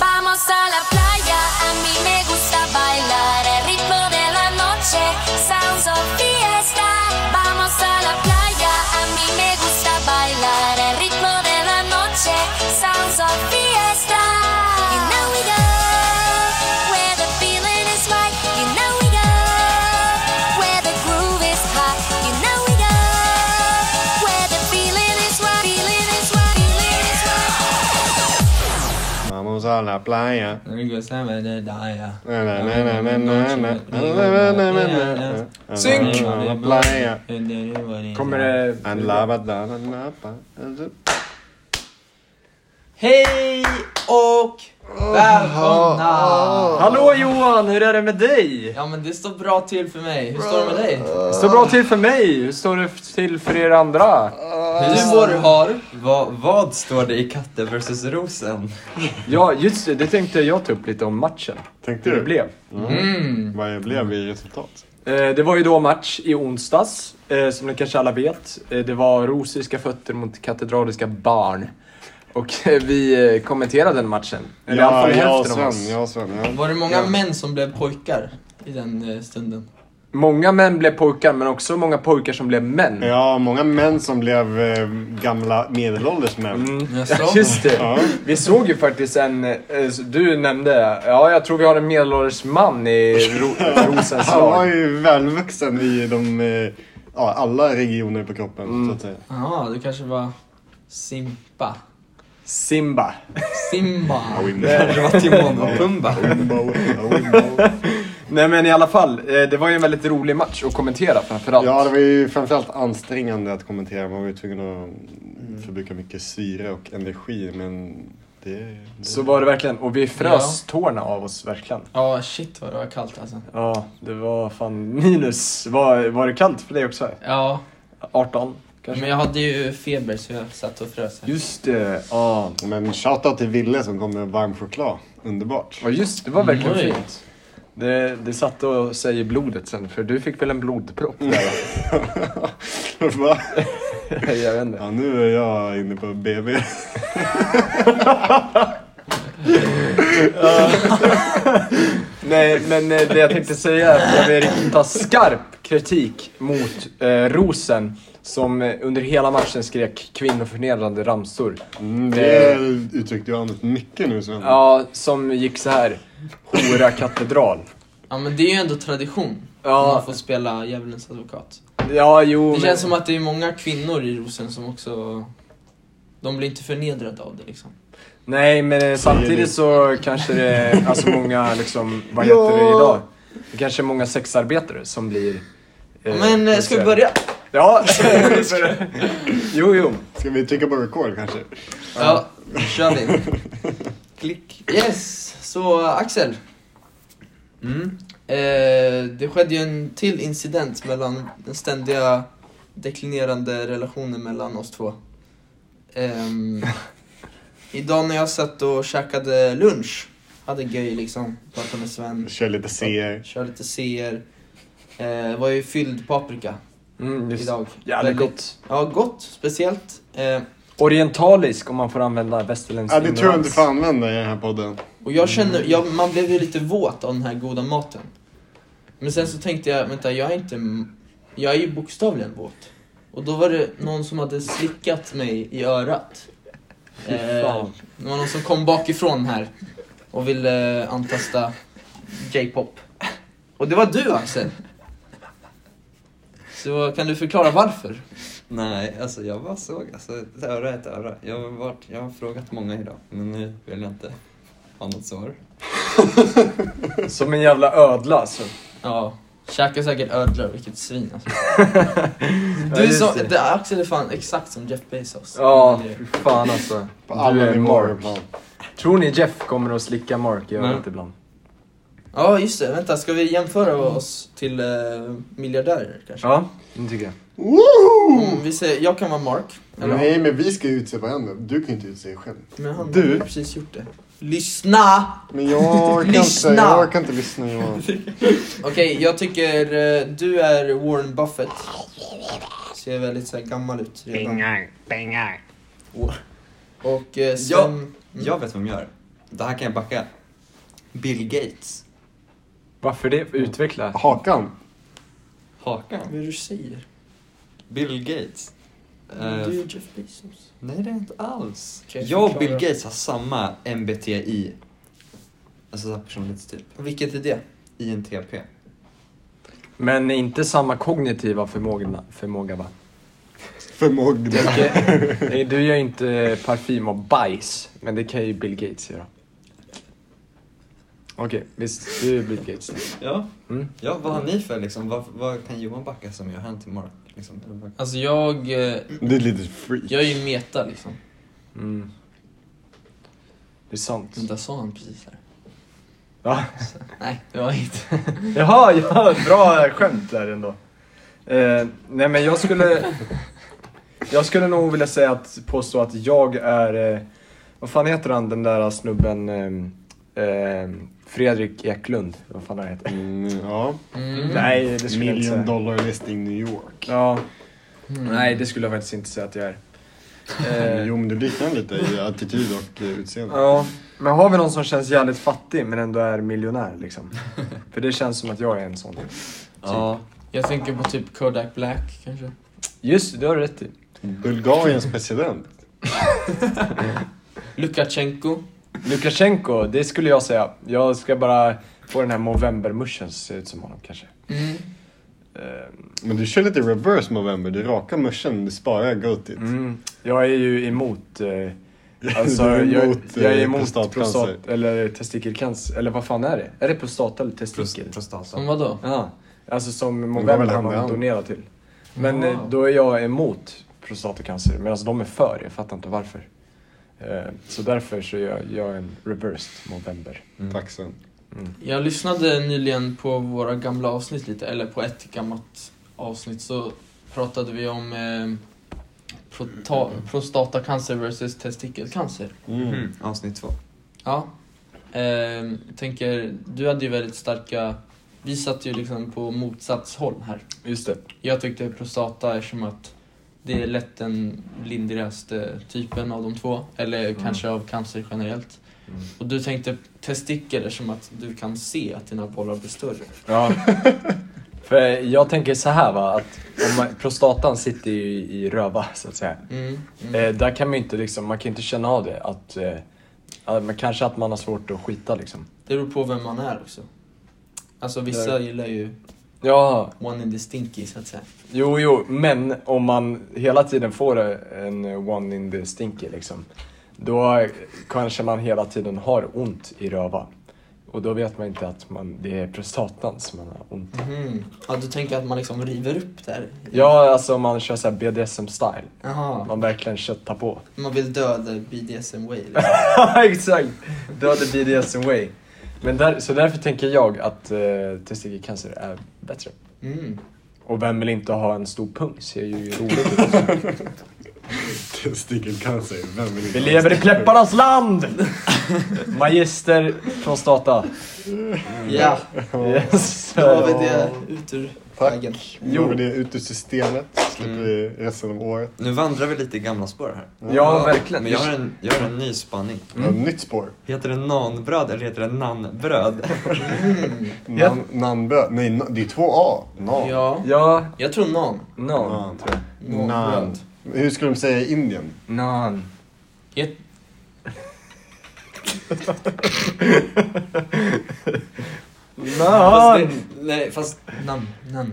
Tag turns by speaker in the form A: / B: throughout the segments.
A: Vamos a la playa, a mí me gusta bailar el ritmo de la noche, sounds of fiesta. Vamos a la playa, a mí me gusta bailar el ritmo de la noche, sounds of fiesta. You know we go where the feeling is right. You know we go where the groove is hot. You know we go where the feeling is right. Feeling is right. Feeling is right.
B: Vamos a la playa. Na, na, na, na, na, na, na, na, na, na, na, na.
C: Synk!
B: Vamos a la playa.
C: Kommer det...
B: And la ba da da na ba.
C: Hej och välkomna!
D: Hallå Johan, hur är det med dig?
C: Ja men det står bra till för mig. Hur står det med dig?
D: Det står bra till för mig, hur står det till för er andra?
C: Hur mår har?
E: Va, vad står det i Katten versus Rosen?
D: Ja, just det, det tänkte jag ta upp lite om matchen.
B: Tänkte
D: Hur det
B: du?
D: blev.
C: Mm.
B: Vad det blev i resultat?
D: Eh, Det var ju då match i onsdags, eh, som ni kanske alla vet. Eh, Det var rosiska fötter mot katedraliska barn. Och eh, vi eh, kommenterade den matchen. Eller i alla fall
B: jag och
D: hälften av
B: Sven.
D: oss.
B: Jag och Sven. ja.
C: Var det många
D: Ja.
C: män som blev pojkar i den eh, stunden?
D: Många män blev pojkar, men också många pojkar som blev män.
B: Ja, många män som blev eh, gamla medelålders män.
D: Mm.
C: Jaså?
D: Just det.
B: Ja.
D: Vi såg ju faktiskt en, eh, så du nämnde, ja jag tror vi har en medelålders man i ro, Rosens
B: Han var
D: lag.
B: ju välvuxen i de, eh, ja, alla regioner på kroppen så att säga.
D: Mm.
C: Jaha, det kanske var Simpa.
D: Simba.
C: Simba.
E: Det var Timon och Pumba.
D: Nej men i alla fall, eh, det var ju en väldigt rolig match att kommentera framförallt.
B: Ja, det var ju framförallt ansträngande att kommentera. Man var ju tvungen
D: Mm.
B: att förbruka mycket syre och energi, men det... det...
D: Så var det verkligen, och vi frös tårna av oss verkligen.
C: Ja, shit vad det var kallt alltså.
D: Ja, det var fan minus. Var, var det kallt för dig också?
C: Ja,
D: 18 kanske?
C: men jag hade ju feber så jag satt och frös. här.
D: Just det, ja.
B: Men shoutout till Ville som kom med varm choklad. Underbart.
D: Ja just det, det var verkligen
C: Oj.
D: fint. Det, det satte och sig i blodet sen, för du fick väl en blodpropp där? va?
B: Va?
D: jag vet inte.
B: ja, nu är jag inne på BB.
D: Nej, men eh, det jag tänkte säga är att jag vill rikta skarp kritik mot eh, Rosen som eh, under hela matchen skrek kvinnoförnedrande ramsor.
B: Mm, det uttryckte ju Anders mycket nu Sven.
D: Ja, som gick så här. Hora katedral.
C: Ja men det är ju ändå tradition. Att man
D: Ja,
C: får spela djävulens advokat.
D: ja jo
C: Det
D: men,
C: känns som att det är många kvinnor i Rosen som också... De blir inte förnedrade av det liksom.
D: Nej, men eh, samtidigt så kanske det är alltså många liksom, vad heter det
B: Ja.
D: idag? Det kanske är många sexarbetare som blir... eh,
C: Men eh, ska vi
D: intresserade.
C: börja?
D: Ja! jo, jo.
B: Ska vi trycka på record kanske?
C: Ja, då kör vi. Klick. Yes, så Axel.
E: Mm.
C: Eh, det skedde ju en till incident mellan den ständiga deklinerande relationen mellan oss två. Ehm, idag när jag satt och käkade lunch, hade göj liksom, pratade med Sven,
B: Kör lite CR.
C: körde lite CR. Eh, var ju fylld paprika
D: Mm, just.
C: idag.
D: Jävligt
C: Väldigt-
D: gott.
C: Ja, gott. Speciellt. Eh,
D: Orientalisk om man får använda västerländsk
B: Ja, det tror jag inte
D: ignorans.
B: får använda i den här podden.
C: Och jag känner, jag, man blev ju lite våt av den här goda maten. Men sen så tänkte jag, vänta jag är inte, m- jag är ju bokstavligen våt. Och då var det någon som hade slickat mig i örat. Eh,
D: fan.
C: det var någon som kom bakifrån här och ville eh, antasta J-pop. Och det var du Axel. Så kan du förklara varför?
E: Nej, alltså jag bara såg. Alltså, ett öra är ett öra. Jag har, varit, jag har frågat många idag, men nu vill jag inte ha något svar.
D: Som en jävla ödla alltså.
C: Ja, käkar säkert ödlor, vilket svin alltså.
D: Ja,
C: Du
D: just
C: som,
D: det.
C: det, Axel är fan exakt som Jeff Bezos.
D: Ja, fy fan alltså.
B: På
D: du
B: alla
D: är
B: nivåer.
D: Mark. Tror ni Jeff kommer att slicka Mark i
E: Nej.
D: örat ibland?
C: Ja, just det. Vänta, ska vi jämföra oss till eh, miljardärer kanske?
D: Ja, det tycker jag.
B: Woohoo!
C: Mm, vi säger, jag kan vara Mark.
D: Mm.
C: Eller,
B: Nej, men vi ska ju utse varandra. Du kan ju inte utse dig själv.
C: Men han
B: Du?
C: har ju precis gjort det. Lyssna!
B: Men jag orkar inte.
C: Lyssna!
B: Jag orkar inte lyssna Johan.
C: Okej, jag tycker eh, du är Warren Buffett. Ser väldigt så här gammal ut redan.
F: Pengar, pengar.
C: Och eh,
E: Ja.
C: Sven...
E: Mm. Jag vet vem jag är. Det här kan jag backa Bill Gates.
D: Varför det? Utveckla.
B: Hakan.
E: Hakan?
C: Vad är det du säger?
E: Bill Gates? Eh,
C: Du är Jeff Bezos.
E: nej, det är inte alls.
C: Okej,
E: jag och
C: förklara.
E: Bill Gates har samma MBTI. Alltså så här personlighetstyp.
C: Vilket är det?
E: INTP.
D: Men inte samma kognitiva förmåga, förmåga va?
B: Förmågd.
D: Nej, Du gör ju inte parfym av bajs, men det kan ju Bill Gates göra. Okej, visst, du är Bill Gates. då.
E: Ja.
D: Mm.
E: ja, vad har ni för liksom? Vad, vad kan Johan backa som gör han till Mark? Liksom? Eller vad-
C: Alltså jag, eh,
B: Du är lite freak.
C: jag är ju meta liksom.
D: Mm. Det är sant.
C: Men där sa han precis här.
D: Va?
C: Nej, det var inte.
D: Jaha, ja, bra skämt där ändå. Eh, nej men jag skulle... Jag skulle nog vilja säga att, påstå att jag är... Eh, vad fan heter han den där snubben? Eh, eh, Fredrik Eklund, vad fan han heter.
B: Mm, ja.
C: Mm.
D: Nej, det skulle jag inte
B: Million
D: säga.
B: dollar listing New York.
D: Ja,
C: Mm.
D: nej det skulle jag faktiskt inte säga att jag är. Eh,
B: Jo men du liknar lite i attityd och eh, utseende.
D: Ja, men har vi någon som känns jävligt fattig men ändå är miljonär liksom? För det känns som att jag är en sån.
E: Ja.
C: Jag tänker på typ Kodak Black kanske.
D: Just det, du har rätt i.
B: Bulgariens president.
C: Lukasjenko.
D: Lukasjenko, det skulle jag säga. Jag ska bara få den här Movember-muschen att se ut som honom kanske.
C: Mm.
D: Ehm,
B: Men du kör lite reverse Movember. Du rakar muschen, du sparar goatit.
D: Mm, jag är ju emot... Eh, alltså,
B: Du är
D: jag,
B: emot,
D: jag är
B: eh,
D: emot
B: prostatcancer.
D: prostat, eller testikelcancer, eller vad fan är det? Är det prostata eller
E: Typ,
D: testikel?
E: Prost- prostata.
C: Som vadå?
D: Ja, alltså som
B: går
D: Movember
B: väl hand i
D: man
B: hand.
D: donerar till. Men
C: Ja.
D: eh, då är jag emot prostatacancer medan de är för, jag fattar inte varför. Eh, Så därför så gör jag en reversed Movember.
B: Tack sen.
C: Jag lyssnade nyligen på våra gamla avsnitt lite, eller på ett gammalt avsnitt så pratade vi om eh, prota- prostatacancer versus testikelcancer.
D: Mhm.
B: Mm.
E: Mm. Avsnitt två.
C: Ja. Ehm, tänker, du hade ju väldigt starka, vi satt ju liksom på motsatshåll här.
D: Just det.
C: Jag tyckte prostata eftersom att det är lätt den lindrigaste typen av de två, eller kanske av cancer generellt.
D: Mm.
C: Och du tänkte testikel eftersom att du kan se att dina bollar blir större.
D: Ja. För jag tänker så här va, att om man, prostatan sitter ju i röva så att säga.
C: Mm, mm.
D: Eh, där kan man ju inte liksom, man kan inte känna av det att, eh, ja, men kanske att man har svårt att skita liksom.
C: Det beror på vem man är också. Alltså vissa
D: Där.
C: gillar ju
D: Ja,
C: one in the stinky så att säga.
D: Jo, jo, men om man hela tiden får en one in the stinky liksom, då kanske man hela tiden har ont i röva. Och då vet man inte att man, det är prostatan som man har ont i.
C: Mhm. Ja, du tänker att man liksom river upp där?
D: Ja, alltså man kör såhär BDSM-style.
C: Jaha.
D: Man verkligen köttar på.
C: Man vill döda BDSM way. Liksom.
D: Exakt! Död BDSM way. Men där, så därför tänker jag att eh, testikelcancer är bättre.
C: Mm.
D: Och vem vill inte ha en stor pung? Ser ju roligt ut.
B: Testikelcancer, vem vill inte
D: Vi
B: ha
D: lever i
B: testikel?
D: plepparnas land! Magister prostata.
C: Ja,
D: Yes.
C: då har vi det ut ur
B: Tack.
C: vägen.
B: Nu har vi det ut ur systemet, slipper vi
D: Mm.
B: resten av året.
E: Nu vandrar vi lite i gamla spår här.
D: Ja, verkligen.
E: Men jag har en, jag har en ny spaning.
B: Mm. Nytt spår.
E: Heter det nanbröd eller heter det nannbröd?
D: Ja.
B: Nan, nanbröd. Nej, na- det är två A. Nan.
C: Ja,
D: Ja,
C: jag tror någon.
D: no.
B: Nan. Nan. Hur skulle de säga i Indien?
D: Nan.
C: Jag,
E: Fast Alltså, det,
D: Nan.
E: nej, fast
C: nam, nam.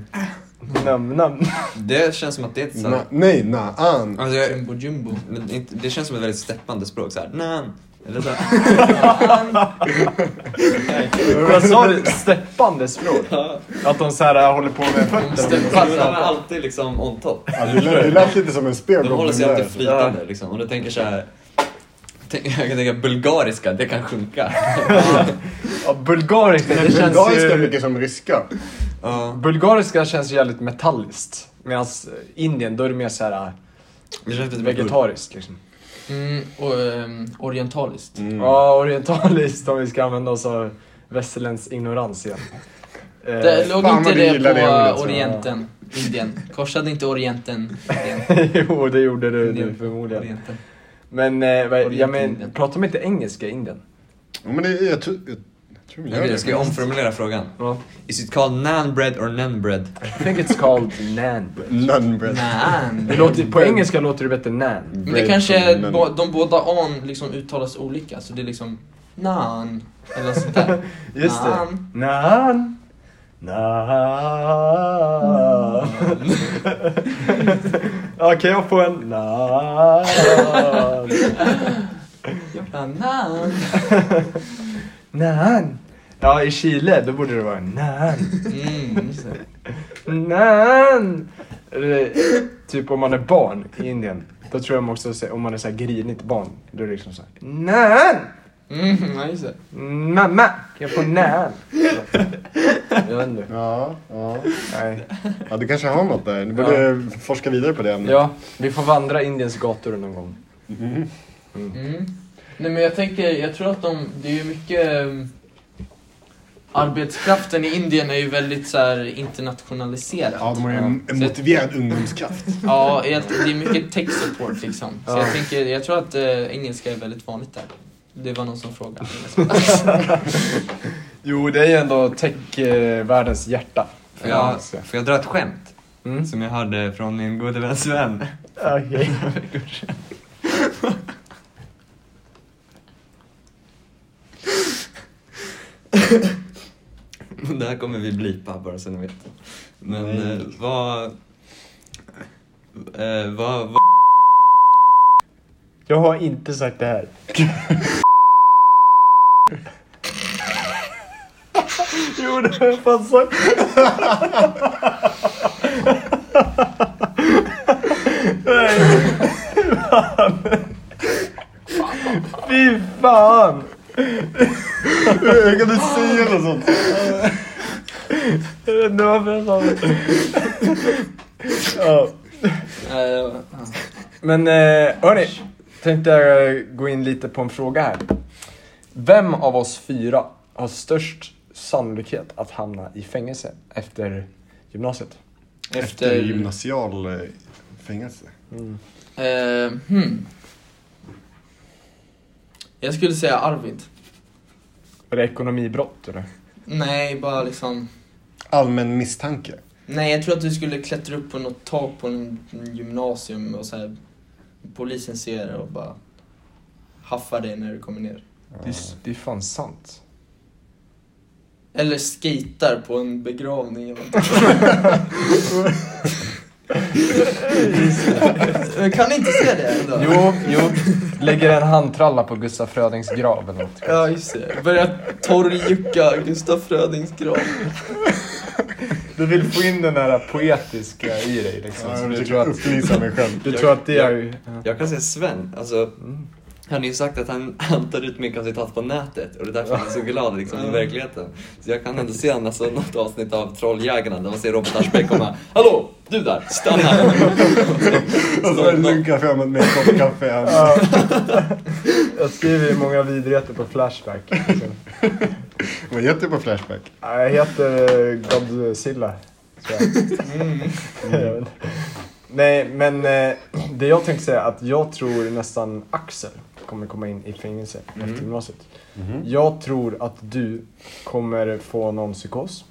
D: Nam, nam.
E: det känns som att det är ett så
B: Na,
E: här,
B: nej, na, an.
E: alltså jag,
C: Jumbo jumbo.
E: men det- Det känns som ett väldigt steppande språk såhär, nan. Eller så här,
D: Vad sa du? Steppande språk? Att de så här håller på med fötterna.
E: de är alltid liksom on top.
B: Ja, det, lät, det lät lite som en
E: De håller
B: spelgubbe
E: sig alltid
B: där.
E: flytande liksom. Om du tänker såhär, tänk, jag kan tänka bulgariska, det kan sjunka.
D: Ja, bulgariska, det känns
B: Bulgariska är
D: ju...
B: mycket som ryska.
E: Ja,
D: Bulgariska känns ju jävligt metalliskt. Medan Indien, då är det mer så här
E: det känns lite mer bulgariskt.
D: vegetariskt liksom.
C: Mm, och, ehm, orientaliskt.
B: Mm.
D: Ja, orientaliskt om vi ska använda oss av västerländsk ignorans igen. Eh,
C: Det låg
B: fan
C: inte
B: vad du
C: det på
B: gillar det ordet,
C: eh,
B: så.
C: Orienten, Indien. Korsade inte Orienten, Indien.
D: jo, det gjorde du,
C: Indien.
D: du förmodligen.
C: Orienten.
D: Men, eh, vad-
C: Orient-
D: jag men
C: Indien.
D: pratar man inte engelska i Indien?
B: Ja, men det, jag, tror- jag tror de gör
E: Okej,
B: det.
E: ska jag omformulera frågan?
D: Ja.
E: Is it called nan bread or nan bread?
D: I think it's called nan.
B: None bread.
D: Det
C: Nej.
D: låter, på engelska låter det bättre nan.
C: Men det
B: Bread
C: kanske
B: from none.
C: är, bo- de båda an liksom uttalas olika, så det är liksom nan eller sådär.
B: Just det.
C: Nan.
D: Nan. Nan. Ja, kan jag få en nan?
C: Jag bara nan.
D: Nan. Ja, i Chile då borde det vara nan.
C: Mm, just det.
D: Nan. Eller, Typ om man är barn i Indien. Då tror jag också så- om man är så här grinigt barn. Då är det liksom så här. Nan.
C: Mm, ja, just det.
D: Mamma, kan jag få nan? Jag vet inte.
B: Ja, ja.
D: Nej.
B: ja, du kanske har något där. Du borde forska vidare på det ämnet.
D: Ja, vi får vandra Indiens gator någon gång.
B: Mm.
C: Mm. Nej men jag tänker, jag tror att de, det är ju mycket ehm, Arbetskraften i Indien är ju väldigt så här internationaliserad.
B: Ja, de har ju en, en
C: Så-
B: motiverad ungdomskraft.
C: Ja, jag- det är mycket tech support liksom. Så
D: Ja.
C: jag tänker, jag tror att eh, engelska är väldigt vanligt där. Det var någon som frågade.
D: Jo, det är ju ändå tech-världens hjärta.
E: Får jag, får jag dra ett skämt?
D: Mm.
E: Som jag hörde från min gode vän Sven.
D: Okej.
E: Det här kommer vi blipa bara så ni vet. Men
B: Nej.
E: eh, vad... Eh, vad... vad
D: Jag har inte sagt det här. jo, det har jag fan sagt. Nej. Fan. Fy fan.
B: jag kan inte säga något sånt.
D: Jag vet inte varför jag sa det. Ja.
C: Eh,
D: Men eh, hörni, tänkte jag eh, gå in lite på en fråga här. Vem av oss fyra har störst sannolikhet att hamna i fängelse efter gymnasiet?
B: Efter gymnasial eh, fängelse.
C: Eh, hmm. Jag skulle säga Arvid.
D: Är det ekonomibrott eller?
C: Nej, bara liksom.
B: Allmän misstanke.
C: Nej, jag tror att du skulle klättra upp på något tak på en en gymnasium och så här. Polisen ser det och bara haffar dig när du kommer ner.
D: Det, är- det är fan sant.
C: Eller skatar på en begravning eller något. Jag kan inte se det ändå.
D: Jo, jo. Lägger en handtralla på Gustaf Frödings grav eller något.
C: Ja, just det. Börjar torrjucka Gustaf Frödings grav.
D: Du vill få in den där poetiska i dig liksom.
B: Jag
D: Så du
B: Alltså, försöker
D: tror att,
B: upplysa mig själv.
D: du tror att det är...
E: Jag kan säga Sven, alltså han har ju sagt att han, han tar ut mycket av sitt hat på nätet och det är därför han är så glad liksom, i verkligheten. Så jag kan ändå se han, alltså, något avsnitt av Trolljägarna där man ser Robert Aschberg komma Hallå! Du där! Stanna!
B: Och så lunkar jag fram med en kopp kaffe. i handen.
D: Ja. Jag skriver ju många vidrigheter på Flashback. liksom.
B: Vad heter det på Flashback?
D: Ja, Jag heter Godzilla. tror jag. Jag vet inte. Nej, men eh, det jag tänkte säga är att jag tror nästan Axel kommer komma in i fängelse efter gymnasiet. Jag tror att du kommer få någon psykos.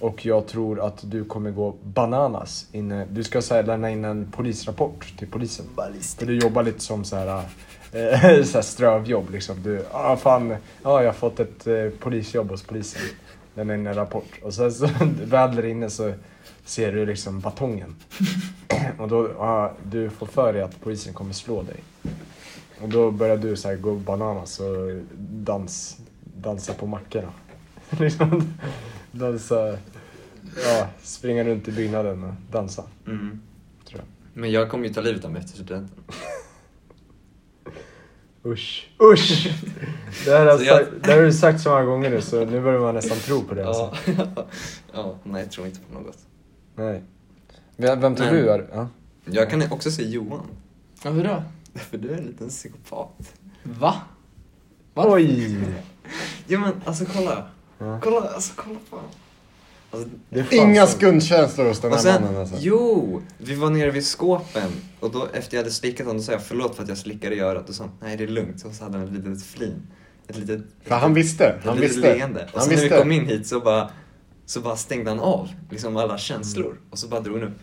D: Och jag tror att du kommer gå bananas. Inne. Du ska så här, lämna in en polisrapport till polisen. För du jobbar lite som så här, eh, så här strövjobb. Liksom. Du, ah, fan, ah, jag har fått ett eh, polisjobb hos polisen. Lämna in en rapport. Och sen så väl där inne så ser du liksom batongen. Och då, ah, du får för dig att polisen kommer slå dig. Och då börjar du så här gå bananas och dans, dansa på mackorna. Liksom dansa, ja, springa runt i byggnaden och dansa.
E: Mm.
D: Tror
E: Men jag kommer ju ta livet av mig efter studenten.
D: Usch. Usch! Det här, har
E: Så jag-
D: sagt, det här har du sagt så många gånger nu så nu börjar man nästan tro på det. Alltså.
E: Ja. ja, nej jag tror inte på något.
D: Nej. Vem vem tror
E: Men-
D: du är? Ja.
E: Jag kan också se Johan,
C: Varför då?
E: för du är en liten psykopat.
C: Va? Varför?
D: Oj!
E: Jo men alltså kolla,
D: Ja.
E: kolla, alltså kolla på honom. Alltså,
D: Det är fan
B: Inga
D: sant.
B: skuldkänslor hos den
E: Och
B: här
E: sen,
B: mannen alltså.
E: jo! Vi var nere vid skåpen och då efter jag hade slickat honom då sa jag förlåt för att jag slickade i örat och sa han, nej det är lugnt. Och så hade han ett litet flin. ett litet...
B: För han visste.
E: ett
B: Han
E: litet
B: visste.
E: leende. Och
B: Han
E: sen när vi kom
B: visste.
E: in hit så bara, så bara stängde han av liksom alla känslor.
B: Mm.
E: Och så bara drog han upp.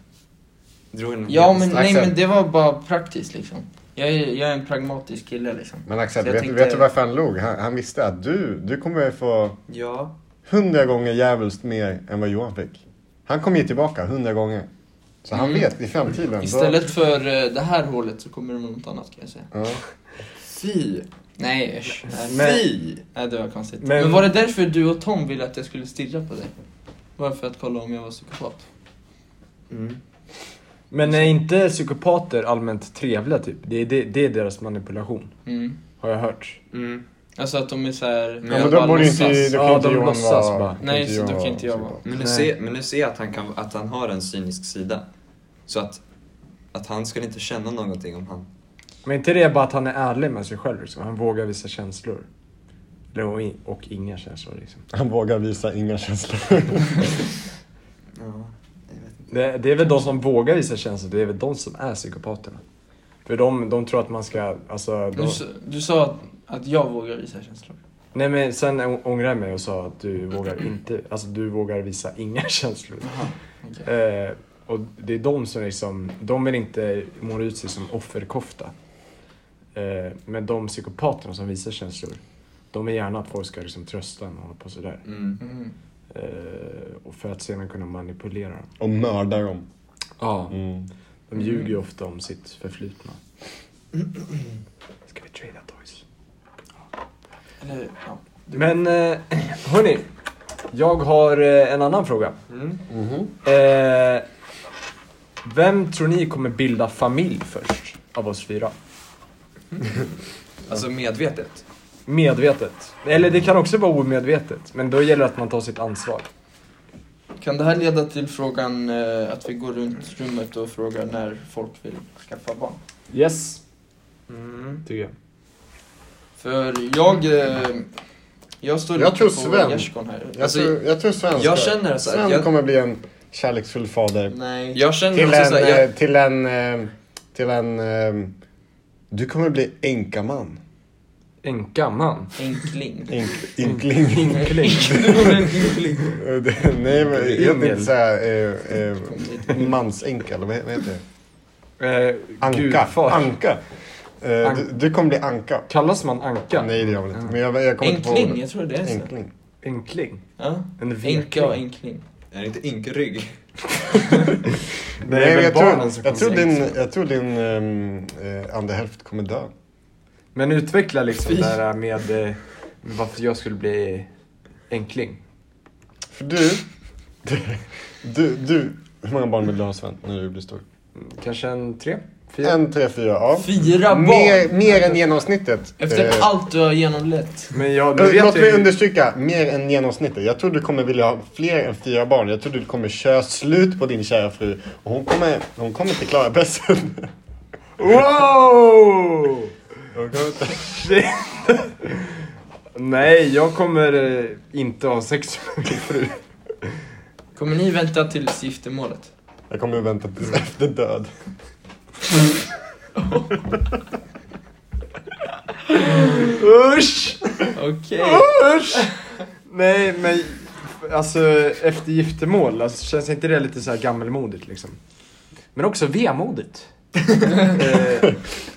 E: Drog en
C: Ja men nej
B: Axel.
C: men det var bara praktiskt liksom. Jag är, jag är en pragmatisk kille liksom.
B: Men Axel,
C: Så jag
B: vet,
C: tänkte-
B: vet du varför han log? Han, han visste att du, du kommer få
E: Ja.
B: hundra gånger djävulskt mer än vad Johan fick. Han kommer ju tillbaka hundra gånger. Så han
C: Mm.
B: vet i framtiden. då-
C: Istället för eh, det här hålet så kommer det med något annat kan jag säga.
B: Ja.
E: Fy!
C: Nej usch. Nej,
D: Men-
E: Fy!
C: nej det var konstigt. Men...
D: Men-
C: var det därför du och Tom ville att jag skulle stirra på dig? Var det för att kolla om jag var psykopat?
E: Mm.
D: Men är inte psykopater allmänt trevliga typ? Det är, det, det är deras manipulation,
C: Mm.
D: har jag hört.
E: Mm.
C: Alltså att de är såhär...
E: men
B: Ja, men
C: bara
B: då borde inte,
C: låtsas.
B: då kan
D: Ja,
B: inte
D: de
B: Johan
D: låtsas
B: vara...
D: bara.
B: kan
C: Nej,
B: inte
C: så då
B: Johan
C: kan inte jag
B: psykopat.
C: vara.
E: Men nu,
D: Nej.
E: ser, men nu ser jag att han, kan, att han har en cynisk sida. Så att, att han skulle inte känna någonting om han...
D: Men inte det bara att han är ärlig med sig själv liksom. Han vågar visa känslor. Eller Och, in- och inga känslor liksom.
B: Han vågar visa inga känslor.
E: Ja, jag vet inte.
D: Det, det är väl de som vågar visa känslor, det är väl de som är psykopaterna. För de, de tror att man ska, alltså...
C: Du,
D: De,
C: s- du sa att, att jag vågar visa känslor.
D: nej men sen å- ångrar jag mig och sa att du vågar inte, alltså du vågar visa inga känslor.
C: Okej.
D: Eh, och det är de som liksom, de vill inte måla ut sig som offerkofta. Eh, men de psykopaterna som visar känslor, de vill gärna att folk ska liksom trösta en och hålla på sådär.
E: Mm.
C: Mm.
D: Eh, och för att sedan kunna manipulera dem.
B: Och mördar dem.
D: Ja.
B: Mm.
D: De ljuger ju ofta om sitt förflutna. Ska vi trada toys?
C: Eller, ja.
D: Men eh, hörni, jag har eh, en annan fråga.
E: Mm.
D: Eh, vem tror ni kommer bilda familj först av oss fyra?
E: Alltså medvetet.
D: Medvetet. Eller det kan också vara omedvetet. Men då gäller det att man tar sitt ansvar.
C: Kan det här leda till frågan eh, att vi går runt rummet och frågar när folk vill skaffa barn?
D: Yes,
E: Mm.
D: tycker jag.
C: För jag... Eh, jag står
B: Jag
C: lite
B: tror
C: på
B: Sven.
C: gärdsgården här.
B: Jag,
E: Alltså,
B: tror, jag tror svenskar...
E: Jag känner så
B: Sven
E: här, jag,
B: kommer bli en kärleksfull fader.
C: Nej.
E: jag känner
B: Till
E: också
B: en,
E: så här, jag,
B: eh, till en... eh, Till en... eh, Du kommer bli enkaman.
D: Enka man.
C: Enkling.
B: Ink, inkling.
D: Inkling.
C: Enkling.
E: Mm.
B: Eh, det- Nej, men jag
D: Ingel.
B: tänkte säga eh, eh, mansänka, eller vad vad heter det?
D: Eh,
B: Anka.
D: gudfar.
B: Anka. Eh, Du, du kommer bli anka.
D: Kallas man anka?
B: Nej, det gör jag väl inte. Men jag, jag kommer inte på
C: Enkling,
B: ordet.
C: jag tror det är så.
B: Enkling.
D: Enkling.
C: Ja.
D: En
C: Enka och
D: viking.
C: enkling.
E: är det inte ynkrygg?
D: Det
B: Nej,
D: är
B: men
D: väl
B: jag, tror,
D: barnen som
B: jag, tror
D: kommer
B: din,
D: bli
B: jag tror din ehm, eh, andra hälft kommer dö.
D: Men utveckla liksom det här med eh, varför jag skulle bli enkling.
B: För du, du, du, hur många barn vill du ha Sven när du blir stor?
D: Kanske en tre? Fyra?
B: En, tre, fyra, ja.
C: Fyra barn!
B: Mer, mer än genomsnittet.
C: Efter
B: Eh,
C: allt du har genomlett.
D: Men jag, nu
B: Ö,
D: vet
B: Låt mig
D: jag ju...
B: understryka, mer än genomsnittet. Jag tror du kommer vilja ha fler än fyra barn. Jag tror du kommer köra slut på din kära fru. Och hon kommer, hon kommer inte klara pressen.
D: Wow!
B: Hon kommer inte-
D: Shit. Nej, jag kommer eh, inte ha sex med min fru.
C: Kommer ni vänta tills giftermålet?
B: Jag kommer vänta tills efter död.
D: Usch!
C: Okej.
B: Ah!
D: Usch! Nej, men alltså efter giftermål, alltså, känns inte det lite så här gammelmodigt liksom? Men också vemodigt. eh, nej,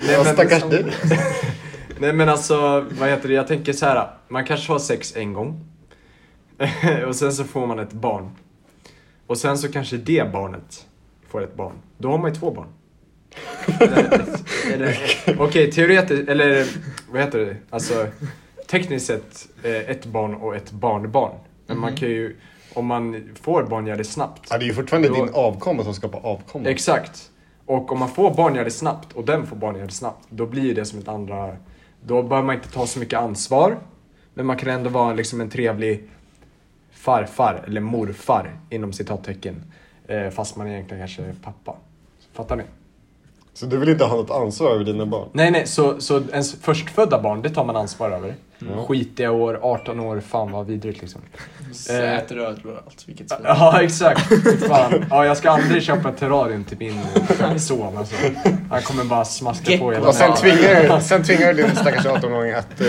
D: liksom-
B: Ja, stackars
D: som-
B: du.
D: Nej men alltså, vad heter det? Jag tänker så här. Man kanske har sex en gång. och sen så får man ett barn. Och sen så kanske det barnet får ett barn. Då har man ju två barn. Eller- eller- Okej, teoretiskt, eller vad heter det? Alltså, tekniskt sett eh, ett barn och ett barnbarn. Men man kan ju, om man får barn gör det snabbt.
B: Ja, det är ju fortfarande
D: Då-
B: din avkomma som skapar avkomma.
D: Exakt. Och om man får barn gör det snabbt och den får barn gör det snabbt, då blir ju det som ett andra... Då behöver man inte ta så mycket ansvar, men man kan ändå vara liksom en trevlig farfar, eller morfar inom citattecken. Eh, fast man egentligen kanske är pappa. Fattar ni?
B: Så du vill inte ha något ansvar över dina barn?
D: Nej, nej, så, så ens förstfödda barn, det tar man ansvar över.
B: Mm. Ja.
D: Skitiga år, 18 år, fan vad vidrigt liksom.
B: Eh.
C: Sätröd överallt, vilket
B: Ah,
C: svin.
D: Ja, exakt. Fan. Ja, jag ska aldrig köpa ett terrarium till min eh, son alltså. Han kommer bara smaska på hela
B: Och sen
D: dagen.
B: tvingar, du- sen tvingar du din stackars 18-åring att eh,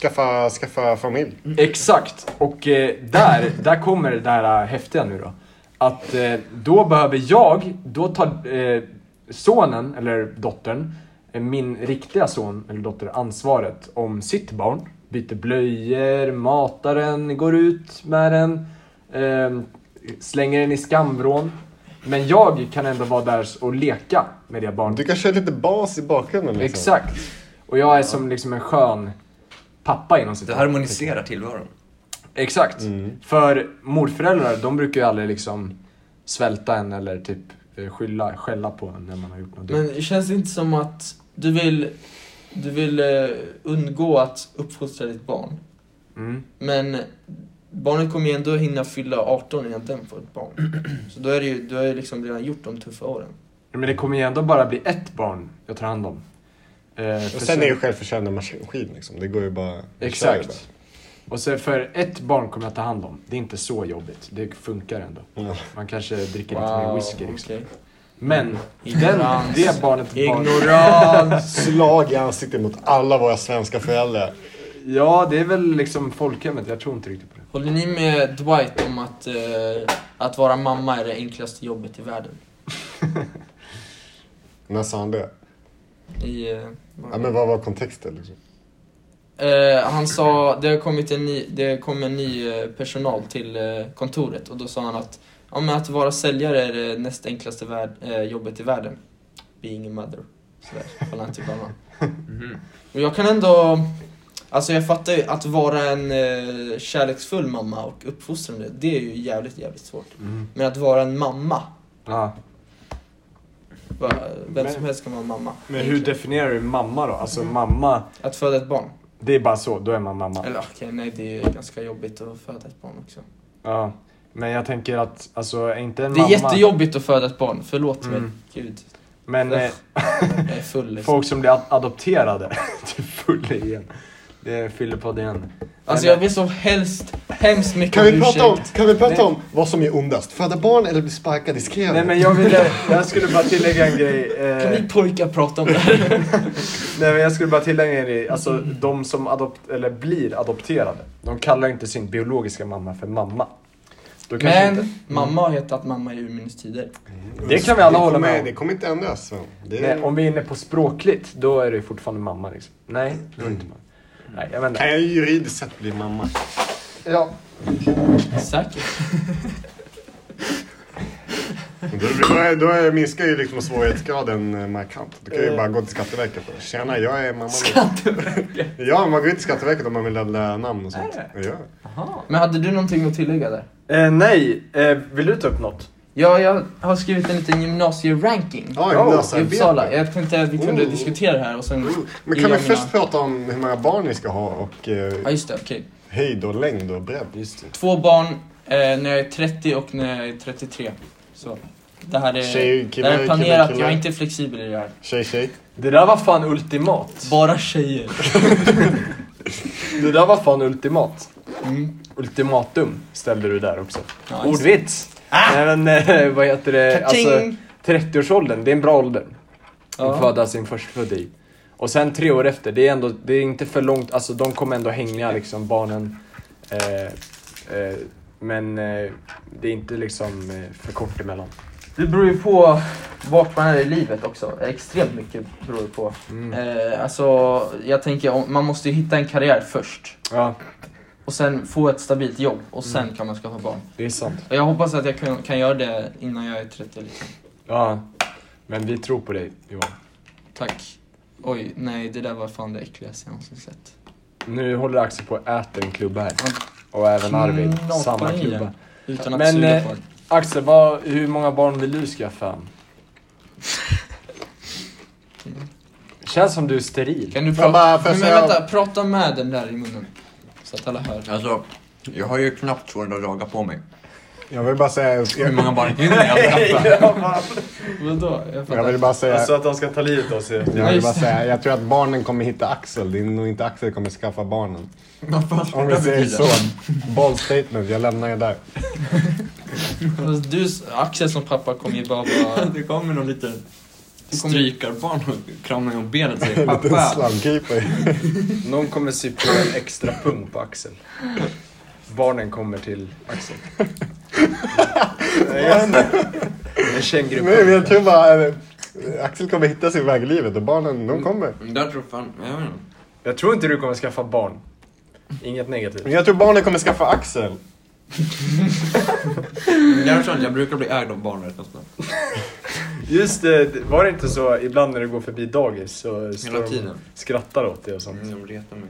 B: skaffa, skaffa familj.
D: Exakt, och eh, där, där kommer det här eh, häftiga nu då. Att eh, då behöver jag, då tar eh, sonen, eller dottern, eh, min riktiga son eller dotter ansvaret om sitt barn. Byter blöjor, matar den, går ut med den, eh, slänger den i skamvrån. Men jag kan ändå vara där och leka med det barnet.
B: Du kan köra lite bas i bakgrunden liksom.
D: Exakt. Och jag är som liksom en skön pappa inom sitt
E: Det harmoniserar tillvaron.
D: Exakt.
B: Mm.
D: För morföräldrar, de brukar ju aldrig liksom svälta en eller typ eh, skylla, skälla på en när man har gjort något dumt.
C: Men känns det inte som att du vill, du vill eh, undgå att uppfostra ditt barn?
D: Mm.
C: Men barnet kommer ju ändå hinna fylla 18 innan den får ett barn. Så då är det ju, du har ju liksom redan gjort de tuffa åren.
D: Men det kommer ju ändå bara bli ett barn jag tar hand om. Eh, för
B: Och sen är ju självförsörjande maskin liksom. Det går ju bara... du kör ju
D: Exakt. Och sen för ett barn kommer jag ta hand om. Det är inte så jobbigt. Det funkar ändå.
B: bara. Ja.
D: Man kanske dricker lite mer whisky liksom.
C: okej.
D: Men den,
C: Ignorans.
D: det barnet...
C: Ignorans!
B: Slag i ansiktet mot alla våra svenska föräldrar.
D: Ja, det är väl liksom folkhemmet. Jag tror inte riktigt på det.
C: Håller ni med Dwight om att, eh, att vara mamma är det enklaste jobbet i världen?
B: När sa han det?
C: I, eh,
B: Ja, men vad var kontexten liksom?
C: Eh, han sa, det har kommit en ny, det kom en ny eh, personal till eh, kontoret och då sa han att ja, men att vara säljare är det näst enklaste värld, eh, jobbet i världen. Being a mother. Sådär, håller han till banan.
E: Mhm.
C: Och jag kan ändå, alltså jag fattar ju att vara en eh, kärleksfull mamma och uppfostrande, det är ju jävligt, jävligt svårt.
D: Mm.
C: Men att vara en mamma,
D: Ja.
C: va, vem
D: Men-
C: som helst kan vara en mamma.
D: Men hur definierar du mamma då? Alltså mamma,
C: Att föda ett barn.
D: det är bara så, då är man mamma.
C: Eller okej, nej det är ganska jobbigt att föda ett barn också.
D: Ja. Men jag tänker att, alltså är inte en
C: Det är
D: mamma...
C: jättejobbigt att föda ett barn, förlåt mig.
D: Mm.
C: Gud,
D: Men eh,
C: jag är full liksom.
D: folk som blir ad- adopterade, typ full igen. Det fyller på det igen.
C: Alltså jag vill så helst, hemskt mycket
B: Kan vi prata om,
C: ursäkt.
B: kan vi prata
D: Nej.
B: om vad som är ondast? Föda barn eller bli sparkad i skrevet?
D: Nej men jag ville, jag skulle bara tillägga en grej. eh,
C: Kan vi pojkar prata om det här?
D: Nej men jag skulle bara tillägga en grej. Alltså de som adopt- eller blir adopterade, de kallar inte sin biologiska mamma för mamma. Då kanske
C: Men
D: inte. Mm.
C: mamma har hetat mamma i urminnes tider.
D: Det kan vi alla hålla
B: kommer-
D: med om.
B: Det kommer inte ändras Sven. Det är...
D: Nej, om vi är inne på språkligt, då är det fortfarande mamma liksom. Nej, då är det inte mamma. Nej, jag vet
B: Kan
D: inte.
B: jag juridiskt sett bli mamma?
D: Ja.
C: Säkert.
B: Då, då, är- då minskar ju liksom svårighetsgraden eh, markant. Du kan ju bara gå till Skatteverket och tjena jag är mamma. Skatteverket? ja, man går ju till Skatteverket om man vill ändra namn och
G: Äh.
B: sånt.
D: Är
B: Ja.
C: Men hade du någonting att tillägga där?
D: Eh, nej, eh, vill du ta upp något?
C: Ja, jag har skrivit en liten gymnasieranking.
B: Ja,
D: Ja,
C: I
B: gymnasiearbete.
C: Uppsala. eh. Jag tänkte att vi kunde
B: Oh.
C: diskutera det här och sen...
B: Men kan vi
C: Jag menar-
B: först prata om hur många barn vi ska ha och
C: Ja
B: eh,
C: just det, okej.
B: höjd och längd och bredd? Just
C: Två barn eh, när jag är 30 och när jag är 33. Så det här är,
B: Tjejer,
C: det här
B: killar,
C: är planerat,
B: killar, killar.
C: jag är inte flexibel i det här.
B: Tjej, tjej.
D: Det där var fan ultimat.
C: Bara tjejer.
D: Det där var fan ultimat.
C: Mm.
D: Ultimatum ställde du där också.
C: Ja, just det.
D: Ordvits! Nej men eh, vad heter det? Alltså,
C: Ka-ting!
D: 30-årsåldern, det är en bra ålder.
C: Ja.
D: Att föda sin förstfödda i. Och sen tre år efter, det är ändå, det är inte för långt, alltså de kommer ändå hänga liksom barnen. Eh, eh, men eh, det är inte liksom eh, för kort emellan.
C: Det beror ju på vart man är i livet också. Extremt mycket beror det på. Eh, alltså, jag tänker, om- man måste ju hitta en karriär först.
D: Ja,
C: Och sen få ett stabilt jobb och sen kan man skaffa barn.
D: det är sant.
C: Och jag hoppas att jag kan, kan göra det innan jag är 30 liksom.
D: Ja, men vi tror på dig Johan.
C: Tack. Oj, nej det där var fan det äckligaste jag någonsin sett.
D: Nu håller Axel på att äta en klubba här. Och även Arvid,
C: Knoppar
D: samma
C: i den.
D: klubba.
C: Utan att
D: Men,
C: suga
D: eh,
C: på den.
D: Axel, vad, hur många barn vill du skaffa? Känns som du är steril.
C: Kan du
B: Jag bara,
C: prata?
B: får jag
C: Men
B: säga-
C: vänta, prata med den där i munnen. Så att alla hör.
E: Alltså, jag har ju knappt 200 dagar på mig.
B: Jag vill bara säga...
E: Hur
B: Jag,
E: många barn hinner jag berätta?
C: Vadå? Jag
B: jag
C: fattar.
B: vill bara säga...
G: Alltså att de ska ta livet av sig.
B: Jag vill
C: just
B: bara
C: det.
B: säga, jag tror att barnen kommer hitta Axel. Det är nog inte Axel kommer skaffa barnen.
C: Vad fan
B: Om
C: det
B: vi säger
C: betyder.
B: så. Bold statement, jag lämnar er där.
C: Fast Du, Axel som pappa kommer ju bara vara...
E: Det kommer någon liten
C: Det kommer-
E: strykarbarn och kramar om benet och säger
B: En liten
E: pappa.
B: slamkeeper.
D: Någon kommer sy på en extra pung på axeln. Barnen kommer till axeln. Nej, jag En
B: Nej, men
D: kängurupung.
B: jag tror bara... eh, Axel kommer hitta sin väg i livet och barnen, de kommer.
E: Men Där tror fan, jag vet inte.
D: Jag tror inte du kommer skaffa barn. Inget negativt.
B: Men jag tror barnen kommer skaffa Axel.
E: Men det är sånt, jag brukar bli ägd av barn rätt ofta.
D: Just det, var det inte så ibland när du går förbi dagis så står
E: Hela
D: de-
E: tiden.
D: skrattar åt dig och sånt?
E: Mm, De retar mig.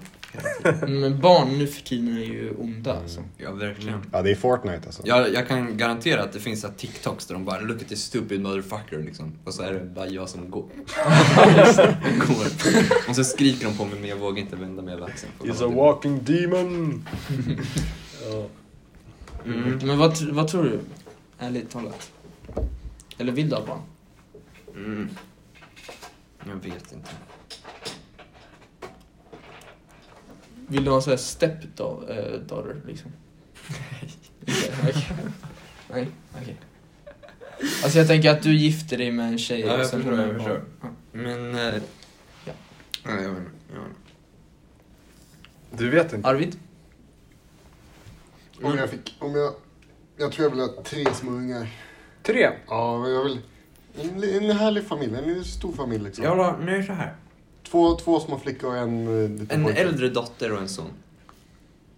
C: Men barn nu för tiden är ju onda alltså.
E: Ja, verkligen.
B: Ja, det är Fortnite alltså.
E: Jag, jag kan garantera att det finns så här TikToks där de bara “Look at this stupid motherfucker” liksom. Och så är det bara jag som går. går. Och så skriker de på mig men jag vågar inte vända mig över axeln.
D: He's a walking demon! ja.
E: Mm.
C: Men vad, tr- vad tror du? Ärligt talat. Eller vill du ha barn?
E: Mm. Jag vet inte.
C: Vill du ha en sån här step da- eh, daughter liksom? Inte? Okej. Nej, okej. Alltså jag tänker att du gifter dig med en tjej
E: Ja, jag
C: sen
E: förstår,
C: hon har
E: jag
C: barn.
E: förstår. Men... eh,
C: Ja.
E: Nej, jag vet inte. Jag vet inte.
D: Du vet
C: Ja.
D: inte?
C: Arvid?
B: Om jag fick... Om jag... Jag tror jag vill ha tre små ungar.
D: Tre!
B: Ja, men jag vill... En, en härlig familj, en stor familj liksom.
E: Jag vill ha, nu är det så här.
B: Två, två små flickor och en eh, liten
E: En
B: pojke.
E: äldre dotter och en son.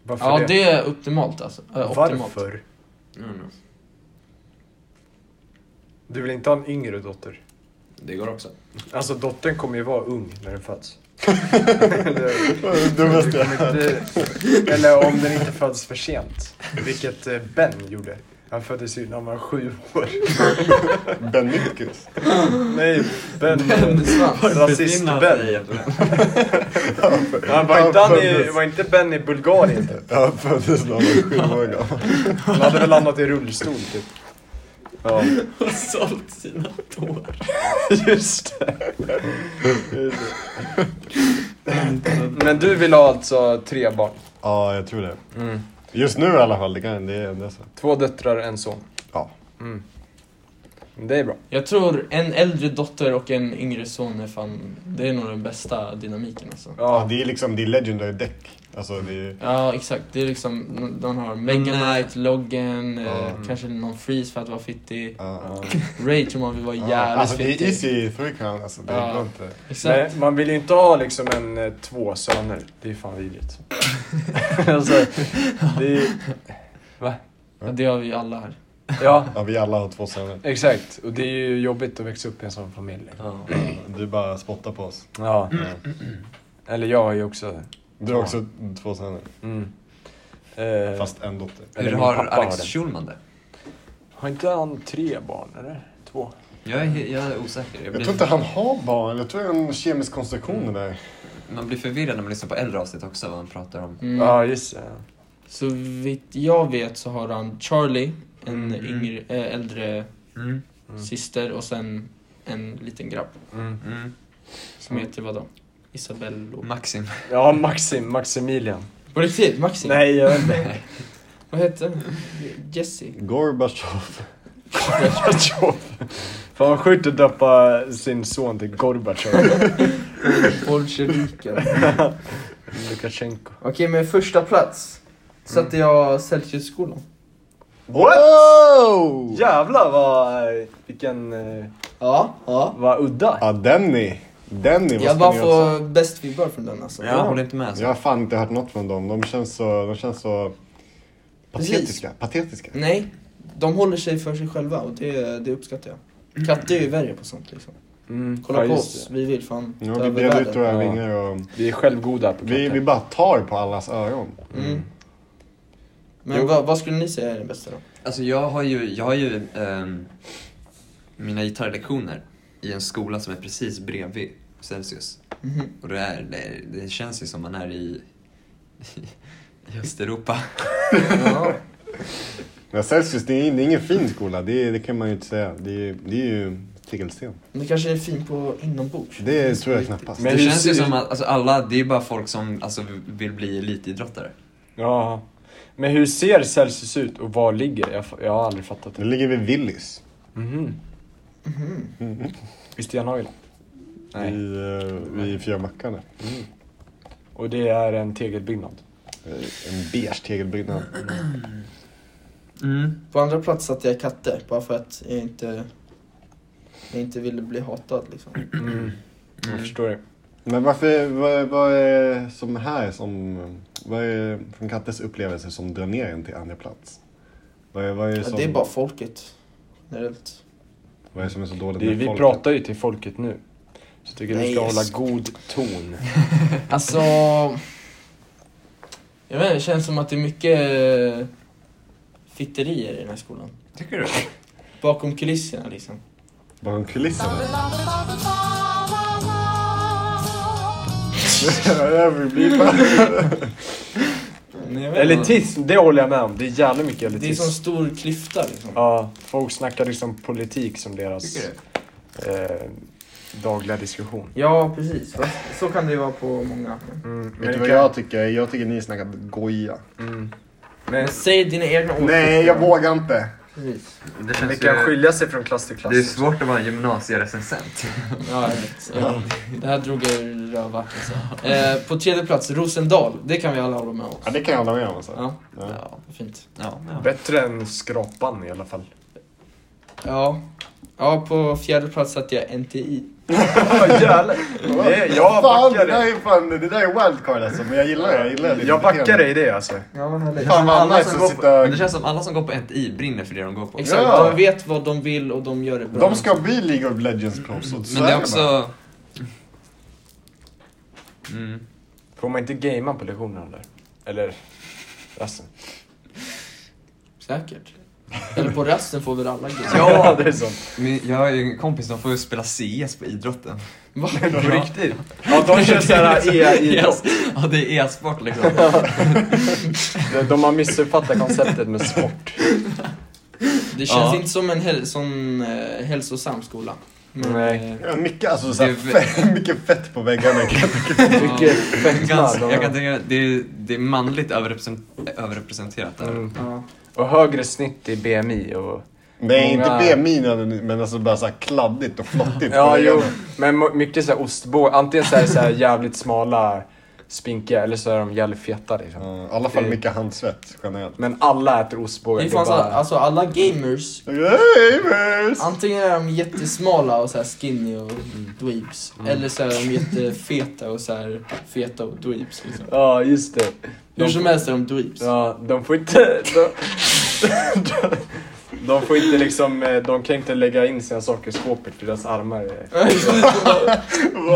D: Varför
C: Ja,
D: det?
C: det är optimalt alltså. Eh, optimalt.
D: Varför?
E: No, no.
D: Du vill inte ha en yngre dotter?
E: Det går också.
D: Alltså dottern kommer ju vara ung när den föds.
B: Det måste jag.
D: Inte- Eller om den inte föds för sent. Vilket eh, Ben gjorde. Han föddes ju när han var sju år.
B: Ben Nytkus.
D: Nej, Ben...
C: Men svans.
D: Rasist-Ben. Var, inte han i- var inte Ben i Bulgarien? typ?
B: Jag föddes när jag var sju år gammal.
D: Han hade väl landat i rullstol typ. Ja,
E: Och sålt sina tår.
D: just det. Just det. Men du vill ha alltså tre barn?
B: Ja, jag tror det. Just nu i alla fall. Det, kan, det, är, det är så.
D: Två döttrar, en son?
B: Ja.
D: Mm. Det är bra.
C: Jag tror en äldre dotter och en yngre son är fan, det är nog den bästa dynamiken alltså.
B: Ja,
D: Ja,
B: det är liksom det är legendary deck. Alltså, det är,
C: Ja exakt, det är liksom, de har Meganite, Loggen, eh, kanske någon Freeze för att vara fittig.
B: ja.
C: Rage om man vill vara
B: Ja,
C: jävligt
B: alltså
C: typ.
B: det är
C: fittig.
B: easy three crown. Alltså, det
C: Ja.
B: går inte.
C: Exakt.
D: Nej, man vill ju inte ha liksom en eh, två söner. Det är fan vidrigt. alltså, det är,
C: Ja, det har vi ju alla här.
D: ja,
B: Ja, vi alla har två söner.
D: exakt. Och det är ju jobbigt att växa upp i en sån familj.
B: Du bara spottar på oss.
D: Ja. Eller jag har ju också...
B: Du har också två söner.
D: Mm. Eh,
B: Fast en dotter.
D: eller
E: Hur
D: min
E: har
D: pappa
E: Alex
D: det.
E: Schulman det?
D: Har inte han tre barn, eller? Två?
E: Jag är, jag är osäker. Jag
B: Jag
E: blir,
B: tror inte han har barn. Jag tror det är en kemisk konstruktion det där.
E: Man blir förvirrad när man lyssnar på äldre avsnitt också, vad han pratar om.
C: Mm.
D: Ja, just det.
C: Så vitt jag vet så har han Charlie, en yngre, äh, äldre
E: Mm.
C: syster och sen en liten grabb
D: Mm.
E: Mm.
C: som heter vadå? Isabello.
E: Maxim.
D: Ja, Maxim, Maximilian.
C: På riktigt? Maxi?
D: Nej, jag vet inte.
C: Vad heter den? Jesse?
B: Gorbatjov.
D: Gorbatjov. Fan vad sjukt att döpa sin son till Gorbatjov.
C: Bolsjeviken.
D: Lukasjenko.
C: Okej, men första plats satte jag Celsiusskolan.
D: What?
B: Wow!
D: Jävlar vad, eh, vilken, eh,
C: Ja, ja.
D: vad udda.
B: Ja, Denny. Denny, vad
C: Jag
B: ska
C: bara
B: ni göra?
C: får bäst vibbar från den alltså.
E: Jag håller inte med. Alltså.
B: Jag har fan inte hört något från dem. De känns så... De känns så
C: Precis.
B: patetiska. Patetiska.
C: Nej, de håller sig för sig själva och det, det uppskattar jag. Katte är ju värre på sånt liksom.
D: Mm,
C: Kolla
D: ja,
C: på
D: just
C: oss,
D: det.
C: vi vill fan
B: Ja,
C: ta
B: vi
C: över
B: breder ut
C: världen.
B: våra
D: Ja.
B: vingar och...
D: Vi är självgoda på
B: Vi,
D: katter.
B: vi bara tar på allas ögon.
C: Mm. Men vad, vad skulle ni säga är den bästa då?
E: Alltså jag har ju, jag har ju ehm, mina gitarrlektioner i en skola som är precis bredvid Celsius.
C: Mhm.
E: Och det, är, det, det känns ju som man är i, i, i Östeuropa.
C: Ja.
B: Men Celsius, det är, det är ingen fin skola. Det, det kan man ju inte säga. Det, är- det är ju tegelsten.
C: Men det kanske är fin på inombords.
B: Det tror jag knappast.
D: Men
F: det
D: hur
F: känns ju
D: ser-
F: som att alltså, alla, det är bara folk som alltså, vill bli elitidrottare.
D: Ja. Men hur ser Celsius ut och var ligger det? Jag, fa- jag har aldrig fattat
B: Det
D: det.
B: ligger vid Willys.
D: Mhm. I Stenhagen.
B: I,
D: Nej.
B: uh, vid Fjärbackarna.
D: Och det är en tegelbyggnad.
B: Eh, En beige tegelbyggnad.
D: Mm.
C: På andra plats satte jag katter bara för att jag inte, jag inte ville bli hatad liksom.
D: Mm. Jag förstår det.
B: Men varför, vad, vad är som här som, vad är från Kattes upplevelse som drar ner en till andra plats? Vad är, vad är,
C: Ja,
B: som,
C: det är bara folket generellt.
B: vad är som är så dåligt
D: det är, vi
B: folket?
D: pratar ju till folket nu. Så jag tycker
C: Nej,
D: du ska
C: jag
D: hålla
C: sk-
D: god ton.
C: Alltså... Jag vet inte, det känns som att det är mycket eh, fitterier i den här skolan.
F: Tycker du?
C: Bakom kulisserna liksom.
B: Bakom kulisserna.
C: Men Mm, jag vet inte.
D: Elitism, det håller jag med om. Det är jävligt mycket elitism.
C: Det är som stor klyfta liksom.
D: Ja, folk snackar liksom politik som deras
F: Tycker du?
D: eh, dagliga diskussion.
C: Ja, precis. Fast Så kan det ju vara på många.
D: Mm,
B: Vet
D: det
B: du vad
D: kan-
B: jag tycker? Jag tycker ni snackar goja.
D: mm.
C: Men säg dina egna åsikter.
B: Nej, jag vågar inte.
C: Precis.
F: Det,
D: Alltså, Det kan skilja sig från klass till klass.
F: det är svårt att vara en gymnasierecensent.
C: Ja, jag vet. Ja. Det här drog jag ur röva. Alltså. Eh, på tredje plats, Rosendal. Det kan vi alla hålla med om.
B: Ja, det kan jag hålla med om alltså.
C: Ja,
B: Ja.
C: fint.
F: Ja, ja.
D: Bättre än skrapan i alla fall.
C: Ja. Ja, på fjärde plats satte jag NTI.
D: Jävlar. Det, jag
B: Fan, det
D: backar
B: där
D: dig.
B: är fan, det där är wildcard alltså. Men jag gillar det. Jag, gillar det
D: Jag backar dig i det alltså.
C: Ja, vad härligt.
B: Fan vad
F: Alla
B: nice
F: som
B: att
F: går på-
B: sitta...
F: Men det känns som alla som går på NTI brinner för det de går på.
C: Exakt,
B: Ja.
C: de vet vad de vill och de gör det bra.
B: De ska bli League of Legends proffs. och så
F: Men det är
B: bara.
F: också... Mm.
D: Får man inte gamea på lektionerna eller? Eller resten?
C: Säkert. Eller på resten får väl alla grejer.
F: Ja.
D: det är sant.
F: Men Jag har ju en kompis som får ju spela CS på idrotten.
C: Va?
D: På riktigt? Ja, de kör E såhär e-idrott.
F: Ja, det är e-sport liksom.
D: De- De har missuppfattat konceptet med sport.
C: Det känns
F: Ja.
C: inte som en häl- sån, eh, hälsosam skola. Men,
D: Nej.
C: eh,
B: Ja, mycket, alltså, såhär,
F: Det är
B: fett, mycket fett på väggarna.
D: Mycket fetma.
F: Ganska,
D: de
F: jag kan tänka
D: har.
F: mig att det är, det är manligt överrepresent- överrepresenterat där.
D: Mm.
C: ja.
D: Och högre snitt i BMI och...
B: Nej, inte
D: Många-
B: BMI nödvändigtvis, men alltså bara såhär kladdigt och flottigt på
D: Ja, jo.
B: väggarna.
D: Men mo- mycket såhär ostbågar. Antingen så är det så här jävligt smala, spinkiga eller så är de jävligt feta liksom.
B: Ja, I alla fall
D: Det-
B: mycket handsvett generellt.
D: Men alla äter ostbågar.
C: Det fanns
D: bara-
C: all- alltså alla gamers,
B: Gamers!
C: antingen är de jättesmala och så här skinny och dweebs. Eller så är de jättefeta och så här feta och dweebs. Liksom.
D: Ja, just det.
C: Hur som helst är de dweebs.
D: Ja, de får inte... De, de får inte liksom... eh, De kan inte lägga in sina saker i skåpet för deras armar är...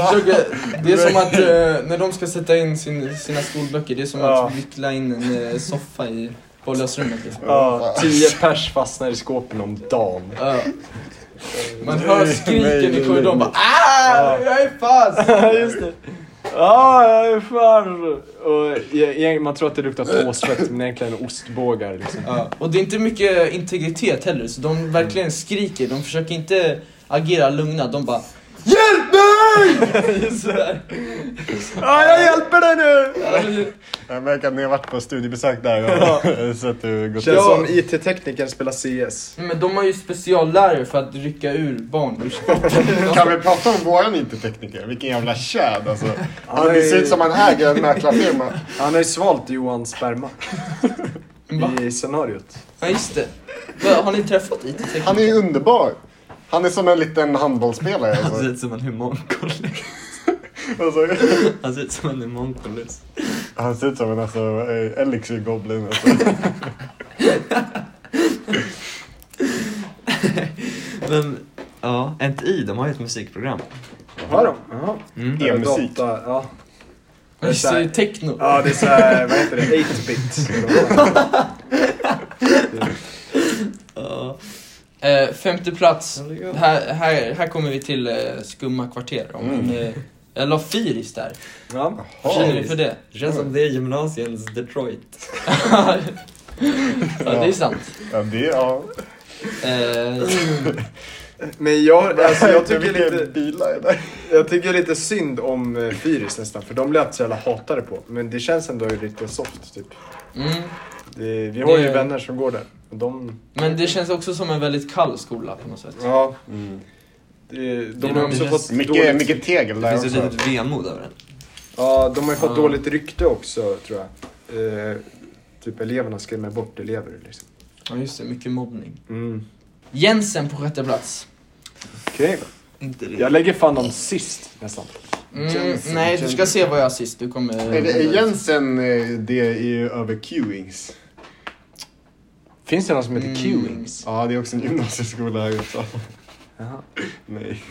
C: Försöker, eh, det är som att eh, när de ska sätta in sin, sina skolböcker, det är som
D: Ja.
C: att vickla in en eh, soffa i bollnäsrummet. Liksom.
D: Ja, tio pers fastnar i skåpen om dagen.
C: Ja. Man
B: Nej,
C: hör skriken
B: nej,
C: i korridoren
B: nej.
C: bara ah,
D: Ja.
C: jag är fast!
D: just det. Ja, jag är fan... Och jag- jag- man tror att det luktar påsvett, men egentligen är det ostbågar liksom.
C: Ja. Och det är inte mycket integritet heller, så de verkligen skriker. De försöker inte agera lugna, de bara HJÄLP MIG! Sådär.
D: Ja, jag hjälper dig nu!
B: Jag märker att ni har varit på studiebesök där och sett hur det går till.
D: Känns
C: Ja.
D: som IT-teknikern spelar CS.
C: Men de har ju speciallärare för att rycka ur barn ur sporten.
B: Kan vi prata om våran IT-tekniker? Vilken jävla tjäd alltså. Han,
D: är-
B: det ser ut som han äger en mäklarfirma.
D: Han har ju svalt Johans sperma
C: Va?
D: i scenariot.
C: Ja just det. Va, Har ni träffat IT-tekniker?
B: Han är ju underbar. Han är som en liten handbollsspelare.
F: Han ser
B: Alltså.
F: ut som en humankollus.
B: Alltså,
F: Han ser ut som en humankollus.
B: han ser ut som en alltså, eh, Elixir Goblin. Alltså.
F: Men, ja, NTI, de har ju ett musikprogram.
D: Har de? Jaha.
F: Mm.
D: Eller
B: E-musik.
D: data, Ja.
C: Ja, just det, techno.
D: Ja, det är såhär, vad heter det, 8-bit.
F: Ja.
C: Eh, femte plats. Här, här, här kommer vi till eh, skumma kvarter. Om, eh, jag la Firis där.
D: Ja.
C: Vad känner ni för det?
F: Det känns som det är gymnasiens Detroit.
C: Ja, det är sant.
B: Ja, det, ja.
C: Eh,
D: Men jag, alltså, jag tycker
B: Vilka
D: lite...
B: bilar är det?
D: Jag tycker lite synd om eh, Fyris nästan, för de lät så jävla hatade på. Men det känns ändå lite soft, typ.
C: mm.
D: Det, vi har ju
C: Det-
D: vänner som går där. Och de...
C: Men det känns också som en väldigt kall skola på något sätt.
D: Ja.
B: Mm.
D: Det,
F: Det
D: de
F: är
D: har
F: nog
D: också
F: mycket-
D: fått
B: Mycket,
D: dåligt...
B: mycket tegel
F: Det
B: där
F: finns
B: också.
F: ett litet vemod över den.
D: Ja, de har ju fått
C: Ja.
D: dåligt rykte också, tror jag. Eh, typ eleverna skrämmer bort elever, liksom.
C: Ja, just det. Mycket mobbning.
D: Mm.
C: Jensen på sjätte plats.
D: Okej.
F: Inte
D: Jag lägger fan dem sist, nästan.
C: Mm,
B: Jensen,
C: nej, du ska
B: Jensen.
C: se vad jag har sist. Du kommer...
B: Är det- är Jensen, eh, det är ju över Q-Wings.
D: Finns det någon som heter
C: Mm.
D: Q-Wings?
B: Ja, det är också en gymnasieskola här också.
D: Jaha.
B: Nej,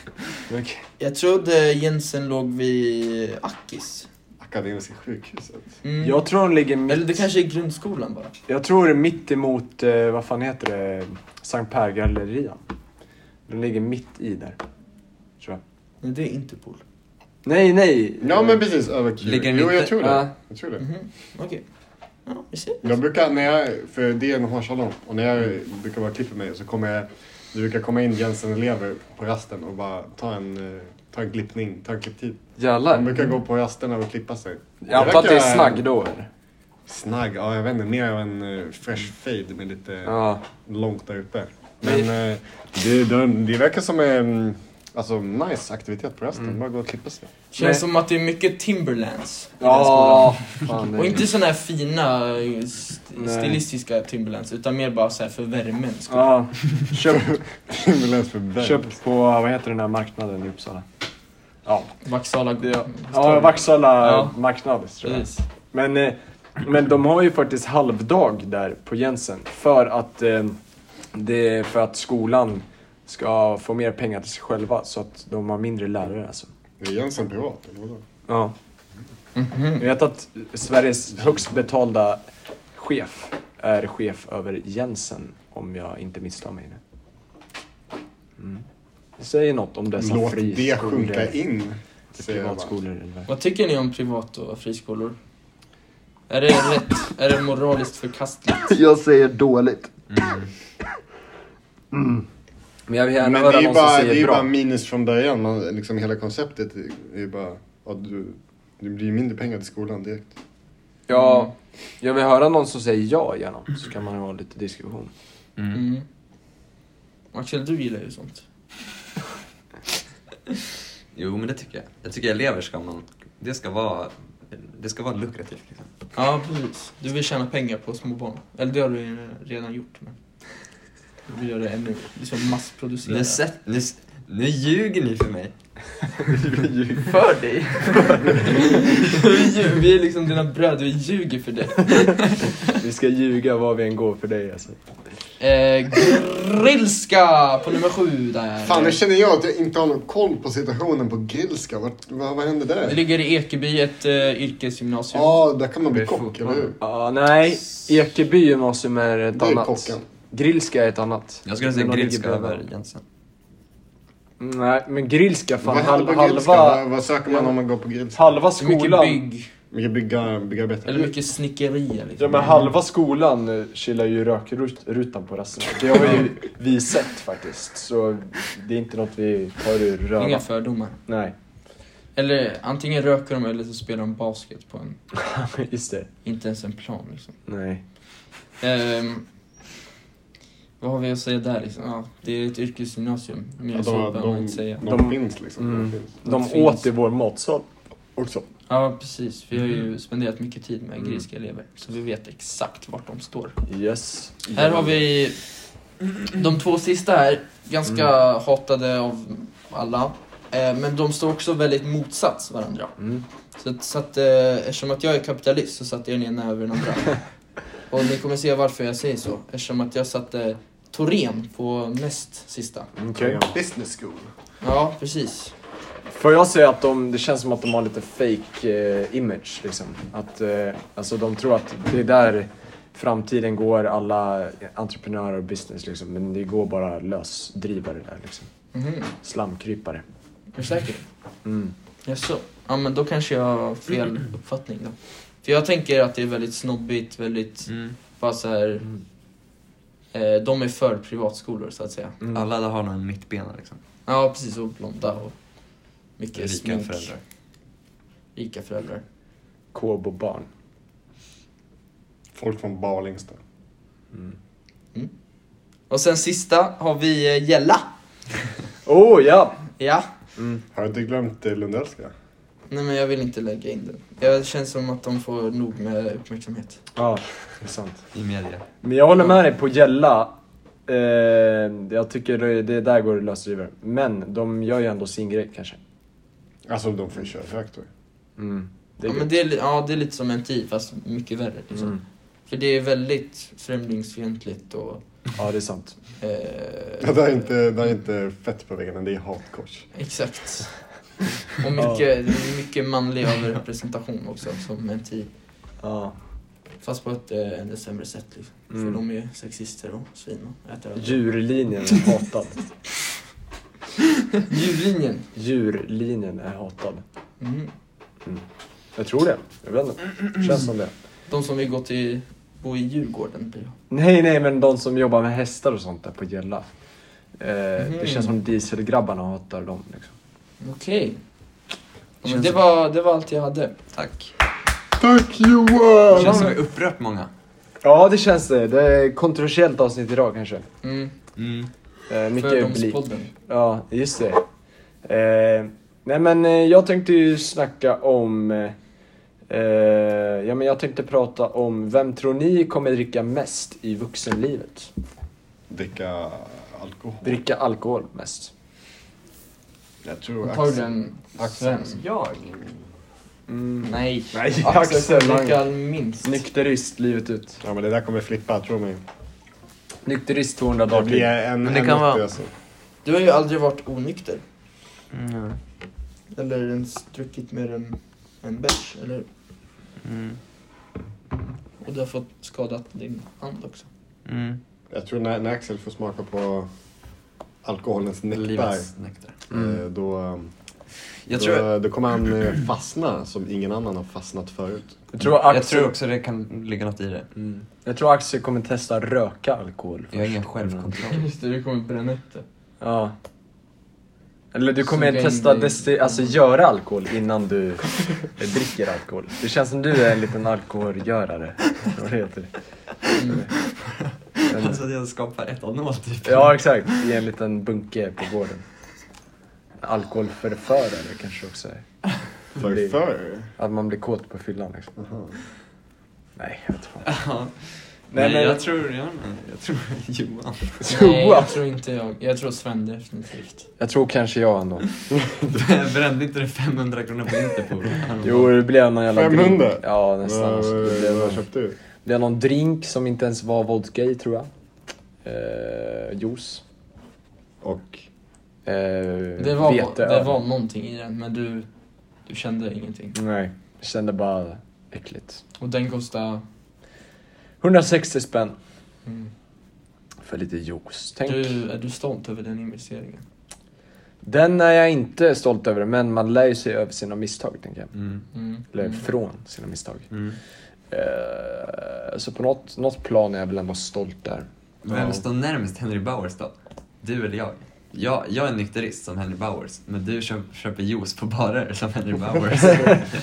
D: Okej.
C: Jag trodde Jensen låg vid Akis.
B: Akademiska sjukhuset.
C: Mm.
D: Jag tror de ligger
C: Eller det
D: mitt...
C: kanske är grundskolan bara.
D: Jag tror det är mitt emot, eh, vad fan heter det, Sankt Per-gallerian. Den ligger mitt i där. Tror jag.
C: Nej, det är Interpol.
D: Nej, nej!
B: Ja, men precis. Över Q.
F: Ligger den
B: Jo, jag
F: inte-
B: tror
D: Ja.
B: det. Jag tror det.
C: Mhm, Okej. Ja, vi ser.
B: Jag brukar, när jag, för det är en hårsalong, och när jag brukar vara och klipper mig så kommer jag, det brukar komma in Jensen-elever på rasten och bara ta en, eh, ta en klippning, ta en klipptid. De
D: Jävlar.
B: brukar gå på rasterna och klippa sig.
D: Jag antar att det
B: verkar-
D: är snagg då eller?
B: Snagg, ja jag vet inte, mer av en eh, fresh fade med lite
D: Ja.
B: långt där uppe. Men eh, det, det, det verkar som en alltså, nice aktivitet på
D: Mm.
B: rasten, bara gå och klippa sig.
C: Känns
D: Nej.
C: som att det är mycket Timberlands i den skolan.
D: Ja, fan det
C: Och
D: är-
C: inte sådana här fina st-
D: Nej.
C: stilistiska Timberlands utan mer bara så här för värmen. skulle-
D: Ja, köpt,
B: Stimulans för Ben.
D: köpt på, vad heter den där marknaden i Uppsala? Ja,
C: Vaksala
D: det, ja Vaksala
C: Ja.
D: marknad tror jag.
C: Precis.
D: Men, eh, men de har ju faktiskt halvdag där på Jensen för att, eh, det, för att skolan ska få mer pengar till sig själva så att de har mindre lärare alltså.
B: Är Jensen privat eller vadå?
D: Ja. Jag vet att Sveriges högst betalda chef är chef över Jensen, om jag inte misstar mig nu. Mm. Det säger något om dessa
B: Låt det
D: friskolor,
B: sjunka in. säger jag bara.
D: privatskolor eller vad.
C: Vad tycker ni om privat och friskolor? Är det rätt? Är det moraliskt förkastligt?
D: Jag säger dåligt. Men jag vill gärna
B: Men det
D: höra
B: är ju
D: någon som
B: bara, det är
D: säger
B: ju
D: bra.
B: bara minus från början. Man, liksom hela konceptet är ju bara att du, det blir ju mindre pengar till skolan direkt.
D: Ja, jag vill höra någon som säger ja gärna, så kan man ha lite diskussion.
C: Mm. Axel, du gillar ju sånt.
F: Jo, men det tycker jag. Jag tycker elever ska man... Det ska vara... Det ska vara lukrativt liksom.
C: Ja, precis. Du vill tjäna pengar på små barn. Eller det har du ju redan gjort. Men... Du vill göra det ännu liksom
F: Nu,
C: massproducerat.
F: sätt, nu, s- nu ljuger ni för mig.
C: För dig! Vi lju- vi är liksom dina bröder, vi ljuger för dig.
D: Vi ska ljuga vad vi än går för dig alltså.
C: Eh, grillska på nummer sju där.
B: Fan, nu känner jag att jag inte har någon koll på situationen på Grillska. Vart, vad, vad händer
C: Det
B: där?
C: ligger i Ekeby, ett eh, yrkesgymnasium.
B: Ja, där kan man bli
F: Det är
B: kock,
F: fotboll.
B: eller hur?
D: Ja, nej, Ekeby gymnasium är ett
B: Det är
D: annat.
B: kocken.
D: Grillska är ett annat.
F: Jag skulle
D: Men
F: säga
D: de ligger
F: grillska
D: bredvid.
F: över Jensen.
D: Nej, men grillska, fan
B: Vad händer
D: hal-
B: på Grillska?
D: halva,
B: Vad, vad söker man om man går på Grillska?
D: halva
C: Så mycket
D: skolan.
C: bygg,
B: Mycket bygga, bygga bättre.
C: eller mycket snickerier liksom.
D: Ja men halva skolan eh, chillar ju rökrutan på rasterna. Det har ju vi sett faktiskt. Så det är inte något vi har ur
C: Inga
D: röva.
C: fördomar.
D: Nej,
C: Eller antingen röker de eller så spelar de basket på en,
D: just det.
C: inte ens en plan liksom.
D: Nej.
C: Ehm, vad har vi att säga där liksom? Ja, det är ett yrkesgymnasium. Mer
B: Ja,
C: så
B: de,
C: behöver man
B: de,
C: inte säga.
B: de,
D: De-
B: finns liksom. De
D: Mm.
B: finns.
D: De
C: Det finns.
D: åt i vår matsal också.
C: Ja, precis. Vi har
B: Mm.
C: ju spenderat mycket tid med grekiska elever. Så vi vet exakt vart de står.
B: Mm.
D: Yes.
C: Här har vi de två sista här, ganska
B: Mm.
C: hatade av alla. Eh, Men de står också väldigt motsats varandra.
D: Mm.
C: Så, att- så att, eh, eftersom att jag är kapitalist så satte jag den ena över den andra. Och ni kommer se varför jag säger så. Eftersom att jag satte Torén på näst sista.
D: Okej.
B: Business school.
C: Ja, precis.
D: Får jag säga att de, det känns som att de har lite fake eh, image liksom. Att, eh, alltså de tror att det är där framtiden går, alla entreprenörer och business liksom. Men det går bara lösdrivare där liksom.
C: Mhm.
D: Slamkrypare.
C: Är du säker?
D: Mm.
C: Jaså? Ja, men
F: Mm.
C: då kanske jag har fel uppfattning då. För jag tänker att det är väldigt snobbigt, väldigt Bara så här, eh, de är för privatskolor så att säga.
F: Mm.
E: Alla där har någon mittbena liksom.
C: Ja, precis. Och blonda och mycket
F: Rika
C: smink.
F: föräldrar.
C: Rika föräldrar.
D: Kåbobarn.
B: Folk från Balingsta.
C: Och sen sista har vi eh, Gälla.
D: Oh ja!
C: Ja.
B: Har jag inte glömt eh, Lundellska?
C: Nej men jag vill inte lägga in den. Jag känns som att de får nog med uppmärksamhet.
D: Ja, det är sant.
E: I media.
D: Men jag håller med dig på Gälla. Eh, jag tycker det det där går löst river. Men de gör ju ändå sin grej kanske.
B: Alltså de får ju köra högt då.
D: Mm. Det är
C: Ja, men det är, li- ja, det är lite som en tid fast mycket värre. Liksom.
D: Mm.
C: För det är väldigt främlingsfientligt och...
D: gött. ja, det är sant.
C: Eh,
B: Det där är inte, det där är inte fett på väggen, det är hatkors.
C: Exakt. Och mycket, mycket manlig överrepresentation också som en tid.
D: Ja.
C: Fast på ett eh, sämre sätt liksom.
D: Mm.
C: För de är ju sexister och svin och äter allt.
D: Djurlinjen är hatad.
C: Djurlinjen.
D: Djurlinjen är hatad.
C: Mm.
D: Jag tror det. Jag vet inte. Känns som det.
C: De som vill gå till, bo i Djurgården blir
D: Nej, nej, men de som jobbar med hästar och sånt där på Gälla. Eh,
C: Mhm.
D: Det känns som dieselgrabbarna hatar dem. Liksom.
C: Okej. Ja, Men
E: Känns-
C: det, var, det var allt jag hade.
E: Tack.
B: Tack
E: Det
B: Johan!
E: känns som jag har upprört många.
D: Ja, det känns det. Det är ett kontroversiellt avsnitt idag kanske.
C: Mm.
E: Mm.
D: Eh, mycket bli.
C: Fördomspodden.
D: Ja, just det. Eh, nej, men eh, jag tänkte ju snacka om... Eh, eh, ja, men jag tänkte prata om vem tror ni kommer dricka mest i vuxenlivet?
B: Dricka alkohol.
D: Dricka alkohol mest.
B: Jag tror
C: Tar du
B: Axel.
C: den
B: Axel.
C: Sven?
D: Jag? Mm.
C: Nej.
D: Nej,
C: Axel
D: Axel Lang.
C: Rikard minst.
D: Nykterist livet ut.
B: Ja men det där kommer flippa, tro mig.
D: Nykterist 200
B: Det
D: dagar
B: blir
D: till.
B: en,
E: Men det
B: en
E: kan vara-
B: åttio, alltså.
C: Du har ju aldrig varit onykter.
E: Mm.
C: Eller ens druckit mer än en bärs, eller hur?
E: Mm.
C: Och du har fått skadat din hand också.
E: Mm.
B: Jag tror när, när Axel får smaka på alkoholens nektar,
E: Livets nektar.
B: eh, då,
E: Mm. Jag
B: då,
E: tror,
B: då kommer han eh, fastna som ingen annan har fastnat förut.
D: Jag tror Axel,
E: jag tror också det kan ligga något i det.
D: Mm. jag tror Axel kommer testa röka alkohol
E: Jag har
D: först.
E: ingen självkontroll.
C: Just det, du kommer bränna upp det.
D: Ja. Eller du kommer
C: Suga in
D: testa,
C: dig.
D: desti- alltså göra alkohol innan du eh, dricker alkohol. Det känns som du är en liten alkoholgörare. Vad heter det?
C: Mm.
E: Alltså att jag skapar etanol typ.
D: Ja exakt, i en liten bunke på gården. Alkoholförförare kanske också är.
B: För, för.
D: Att man blir kåt på fyllan liksom.
B: Aha.
D: Nej, jag vet inte.
E: Ja.
D: Nej,
E: Nej,
D: men-
E: jag tror, jag, jag tror Johan.
C: Nej, jag tror inte jag. Jag tror Sven definitivt.
D: Jag tror kanske jag ändå.
E: Brände inte du 500 kronor på Interpol?
D: Jo, det blev någon jävla drink.
B: 500?
D: Ja, nästan.
B: Vad
D: alltså. Det blev
B: vad
D: någon,
B: köpte du?
D: det är någon drink som inte ens var vodka i, tror jag. Eh, juice.
B: Och
D: Eh,
C: Det var,
D: vete,
C: det var någonting i den, men du, du kände ingenting.
D: Nej, jag kände bara äckligt.
C: Och den kostade...
D: 160 spänn
C: Mm.
D: för lite juice. Tänk.
C: Du, är du stolt över den investeringen?
D: Den är jag inte stolt över, men man lär ju sig över sina misstag, tänker jag.
E: Mm.
C: Mm.
D: Eller
C: Mm.
D: från sina misstag.
E: Mm.
D: Eh, så på något, något plan är jag väl ändå stolt där.
E: Vem
D: Ja.
E: står närmast Henry Bowers då? Du eller jag? Jag, jag är nykterist som Henry Bowers, men du köp, köper juice på barer som Henry Bowers.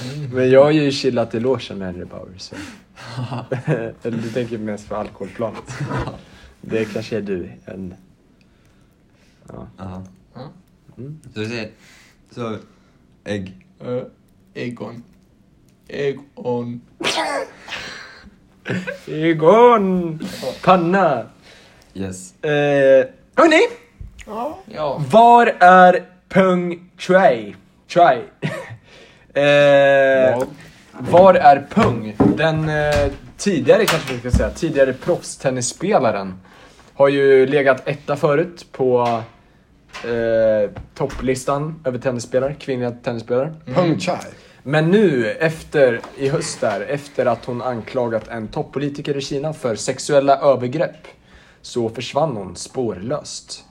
D: Men jag har ju chillat i logen med Henry Bauer. Så. Eller du tänker mest på alkoholplanet. Det kanske är du. En... Ja.
E: ja.
C: Ja.
D: Mm.
E: Så du säger, så ägg.
C: Eh, Egon. Egon.
D: Egon! Panna!
E: Yes.
D: Eh, hörni!
C: Ja.
D: Var är Pung Trai? Trai. Eh, var är Pung? Den eh, tidigare, kanske vi ska säga, tidigare proffstennisspelaren har ju legat etta förut på eh, topplistan över tennisspelare, kvinnliga tennisspelare.
B: Pung Chai.
D: Men nu, efter, i höst där, efter att hon anklagat en toppolitiker i Kina för sexuella övergrepp så försvann hon spårlöst.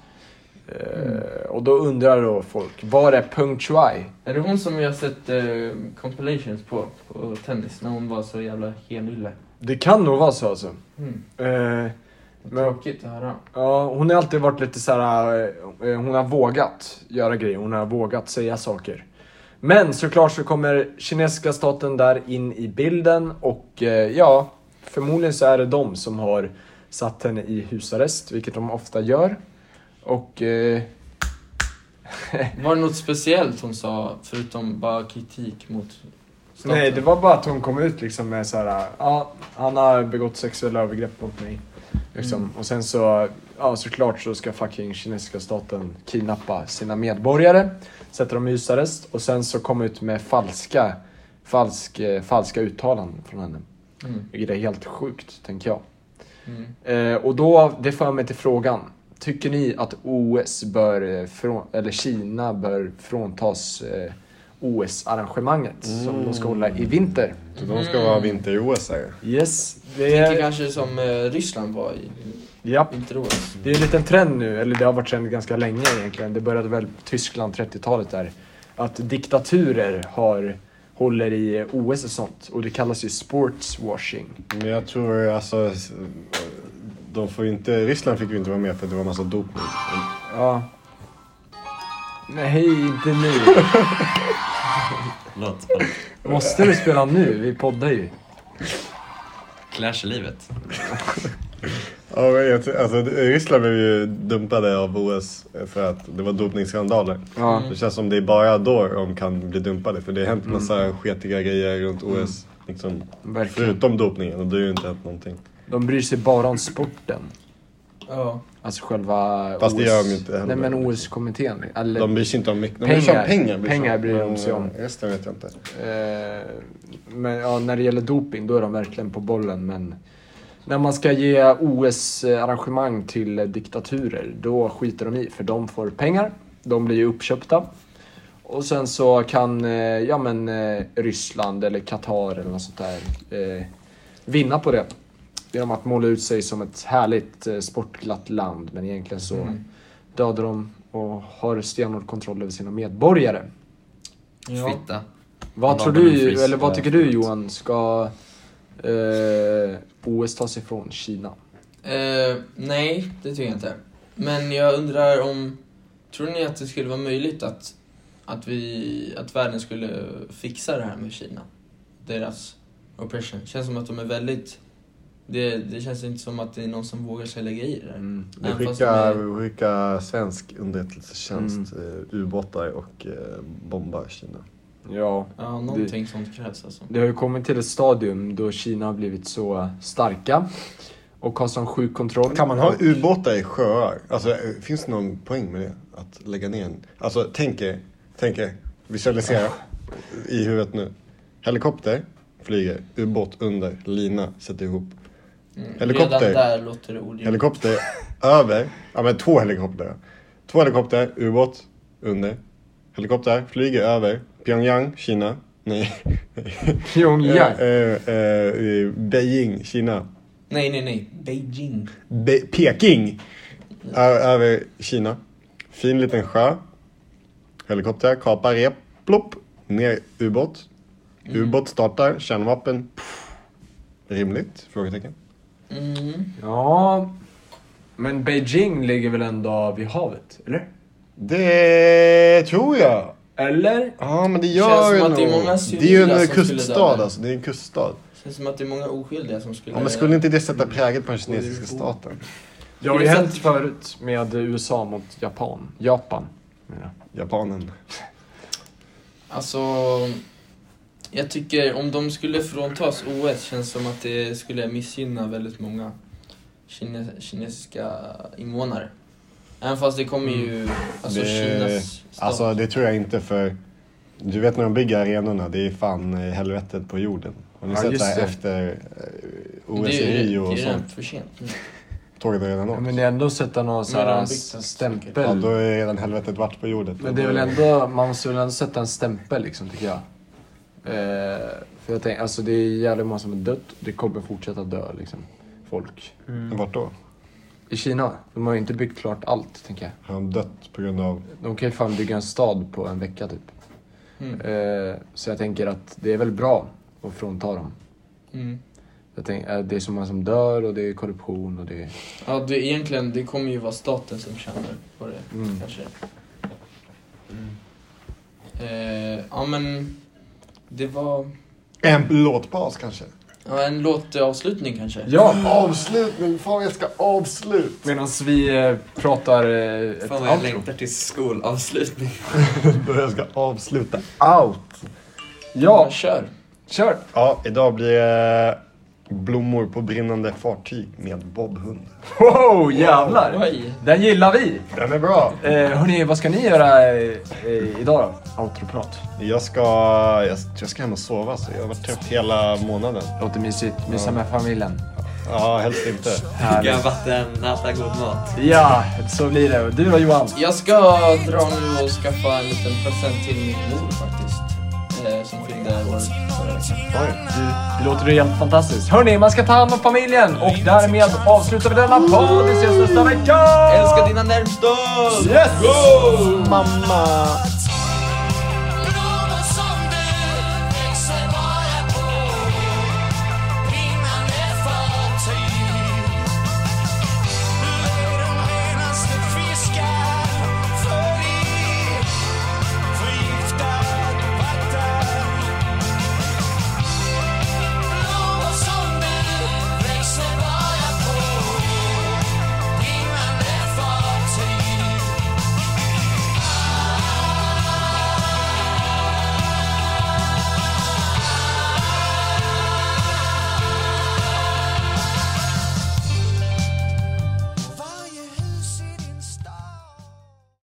D: Eh, och då undrar då folk, var är Peng Shuai?
C: Är det hon som vi har sett eh, compilations på, på tennis, när hon var så jävla helylle?
D: Det kan nog vara så alltså.
C: Mm.
D: Eh, men,
C: Tråkigt att höra.
D: ja, hon har alltid varit lite så här. eh, hon har vågat göra grejer, hon har vågat säga saker. Men såklart så kommer kinesiska staten där in i bilden och eh, ja, förmodligen så är det de som har satt henne i husarrest, vilket de ofta gör. Och eh,
C: Var det något speciellt hon sa, förutom bara kritik mot staten?
D: Nej, det var bara att hon kom ut liksom med så här, ja, han har begått sexuella övergrepp mot mig. Liksom. Och sen så, ja såklart så ska fucking kinesiska staten kidnappa sina medborgare, sätta dem i husarrest och sen så komma ut med falska, falsk, eh, falska uttalanden från henne.
C: Mm.
D: Vilket är helt sjukt, tänker jag.
C: Mm.
D: Eh, och då, det för mig till frågan. Tycker ni att OS bör, eh, från, eller Kina bör fråntas eh, OS-arrangemanget som de ska hålla i vinter?
B: Så de ska vara vinter-OS här.
D: Yes, det
C: Tänker
D: är,
C: kanske som eh, Ryssland var i
D: ja,
C: vinter-OS.
D: det är en liten trend nu, eller det har varit trend ganska länge egentligen. Det började väl Tyskland 30-talet där. Att diktaturer har, håller i OS och sånt. Och det kallas ju sportswashing.
B: Men jag tror alltså... s- De får ju inte... Ryssland fick ju inte vara med för det var massa dopning.
D: Ja. Nej, inte nu.
E: Låt.
D: Måste du spela nu? Vi poddar ju.
E: Clash i livet.
B: Ja, men jag tror- alltså, Ryssland blev ju dumpade av OS för att det var dopningsskandaler.
D: Ja. Mm.
B: Det känns som det är bara då de kan bli dumpade för det har hänt massa sketiga grejer runt OS. Liksom,
D: Verkligen.
B: förutom dopningen och det har ju inte hänt någonting.
D: De bryr sig bara om sporten.
C: Ja.
D: Alltså själva
B: Fast det
D: OS.
B: gör de ju inte
D: Nej
B: heller.
D: men OS-kommittén. Eller,
B: De bryr sig inte om mycket. De bryr sig om
D: Pengar.
B: pengar. sig
D: Pengar bryr de sig om.
B: Men Resten vet jag inte.
D: eh, men, ja, när det gäller doping då är de verkligen på bollen men när man ska ge OS-arrangemang till eh, diktaturer då skiter de i för de får pengar. De blir ju uppköpta. Och sen så kan eh, ja, men, eh, Ryssland eller Qatar eller något sånt där eh, vinna på det. Genom att måla ut sig som ett härligt eh, sportglatt land men egentligen så dödar de och har stenhård kontroll över sina medborgare.
C: ja.
E: Fitta.
D: Vad
E: Om
D: tror
E: de har en
D: du,
E: frist
D: eller vad
E: där
D: tycker du
E: förut.
D: Johan, ska eh, OS ta sig från Kina?
C: Eh, nej, det tycker jag inte. Men jag undrar om... Tror ni att det skulle vara möjligt att, att, vi, att världen skulle fixa det här med Kina? Deras oppression. Känns som att de är väldigt... Det, det känns inte som att det är någon som vågar sig lägga i det där.
D: Mm.
B: Vi
C: Även fast
B: skickar,
C: de
B: vi skickar svensk underrättelsetjänst,
D: Mm.
B: eh, ubåtar och eh, bombar Kina.
D: Ja,
C: Ja, någonting sånt krävs alltså.
D: det har ju kommit till ett stadium då Kina har blivit så starka och har sån sjuk kontroll.
B: Kan man ha ubåtar i sjöar? Alltså, eh, finns det någon poäng med det? Att lägga ner en... Alltså, tänk er, tänk er, visualisera i huvudet nu. Helikopter flyger, ubåt under, lina sätter ihop. Helikopter.
C: Mm. Redan där låter det orimligt.
B: Helikopter över, ja men två helikoptrar. Två helikoptrar, ubåt under. Helikopter flyger över Pyongyang, Kina. Nej.
D: Pyongyang.
B: Eh, eh, eh, Beijing, Kina.
C: Nej, nej, nej. Beijing.
B: Be- Peking! Ö- över Kina. Fin liten sjö. Helikopter, kapar rep, plopp. Ner ubåt.
C: Mm.
B: Ubåt startar, kärnvapen. Pff. Rimligt? Frågetecken.
C: Mm.
D: Ja, men Beijing ligger väl ändå vid havet, eller?
B: Det tror jag.
D: Eller?
B: Ja, men det
C: Känns
B: gör
C: som
B: det
C: att det är
B: nog.
C: många
B: Det är ju
C: civila
B: en
C: som skulle
B: kuststad
C: dö.
B: alltså. Det är en kuststad.
C: Känns som att det är många oskyldiga som skulle...
B: Ja, men skulle inte det sätta präget på den kinesiska staten?
D: Det har ju hänt förut med USA mot Japan. Japan. menar jag.
B: Japanen.
C: Alltså, jag tycker om de skulle fråntas OS känns som att det skulle missgynna väldigt många kine- kinesiska invånare. Även fast det kommer ju, alltså
B: Mm. Det-
C: Kinas stat.
B: Alltså, det tror jag inte för... Du vet när de bygger arenorna, det är fan eh, helvetet på jorden. Har ni
D: Ja,
B: sett
D: just
B: det här
D: det.
B: efter eh,
C: Men
B: OS
C: det är
B: i
C: ju-
B: Rio och
C: Det är ju redan
B: sånt?
C: för sent. Mm. nu.
B: Tåget har redan
D: Ja,
B: åkt.
D: Men det är ändå sätta någon sån
C: Men de
D: här
C: har byggt en
D: stämpel.
B: Ja, då är redan helvetet vart på jorden.
D: Men det är väl ändå, man måste väl ändå sätta en stämpel liksom tycker jag. Eh, för jag tänker, alltså det är jävligt många som har dött. Det kommer fortsätta dö liksom. Folk.
B: Vart då?
D: I Kina, de har ju inte byggt klart allt tänker jag.
B: Har de dött på grund av...
D: De kan ju fan bygga en stad på en vecka typ.
C: Mm.
D: Eh, så jag tänker att det är väl bra att frånta dem.
C: Mm.
D: Jag Jag tänker, eh, det är så många som dör och det är korruption och det är...
C: Ja, det, egentligen, det kommer ju vara staten som tjänar på det,
D: Mm.
C: kanske. Eh, ja, men det var
B: En låtpaus kanske?
C: ja, en låtavslutning kanske.
D: Ja!
B: Avslutning! Fan, jag ska avslut!
D: Medan vi eh, pratar eh, ett
E: Fan vad jag
D: outro.
E: längtar till skolavslutning.
B: jag ska avsluta allt.
D: Ja,
C: kör.
D: kör!
B: Ja, idag blir det blommor på brinnande fartyg med bobhund.
D: Wow, jävlar!
C: Oj.
D: Den gillar vi!
B: Den är bra!
D: Eh, hörni, vad ska ni göra eh, eh, idag då? Outroprat.
B: Jag ska, jag, jag ska hem och sova, så jag har varit trött hela månaden.
D: Låter mysigt. Mysa med familjen.
B: Ja, helst inte.
E: Dricka
D: Härligt.
E: vatten, äta god mat.
D: Ja, så blir det. Och Du då Johan?
C: Jag ska dra nu och skaffa en liten present till min mor faktiskt. Eh, som fyllde år förra veckan.
B: Oj.
D: Det låter ju helt fantastiskt. Hörni, man ska ta hand om familjen och därmed avslutar vi denna podd. Vi ses nästa vecka!
C: Älska dina närmsta!
D: Yes!
B: Mamma!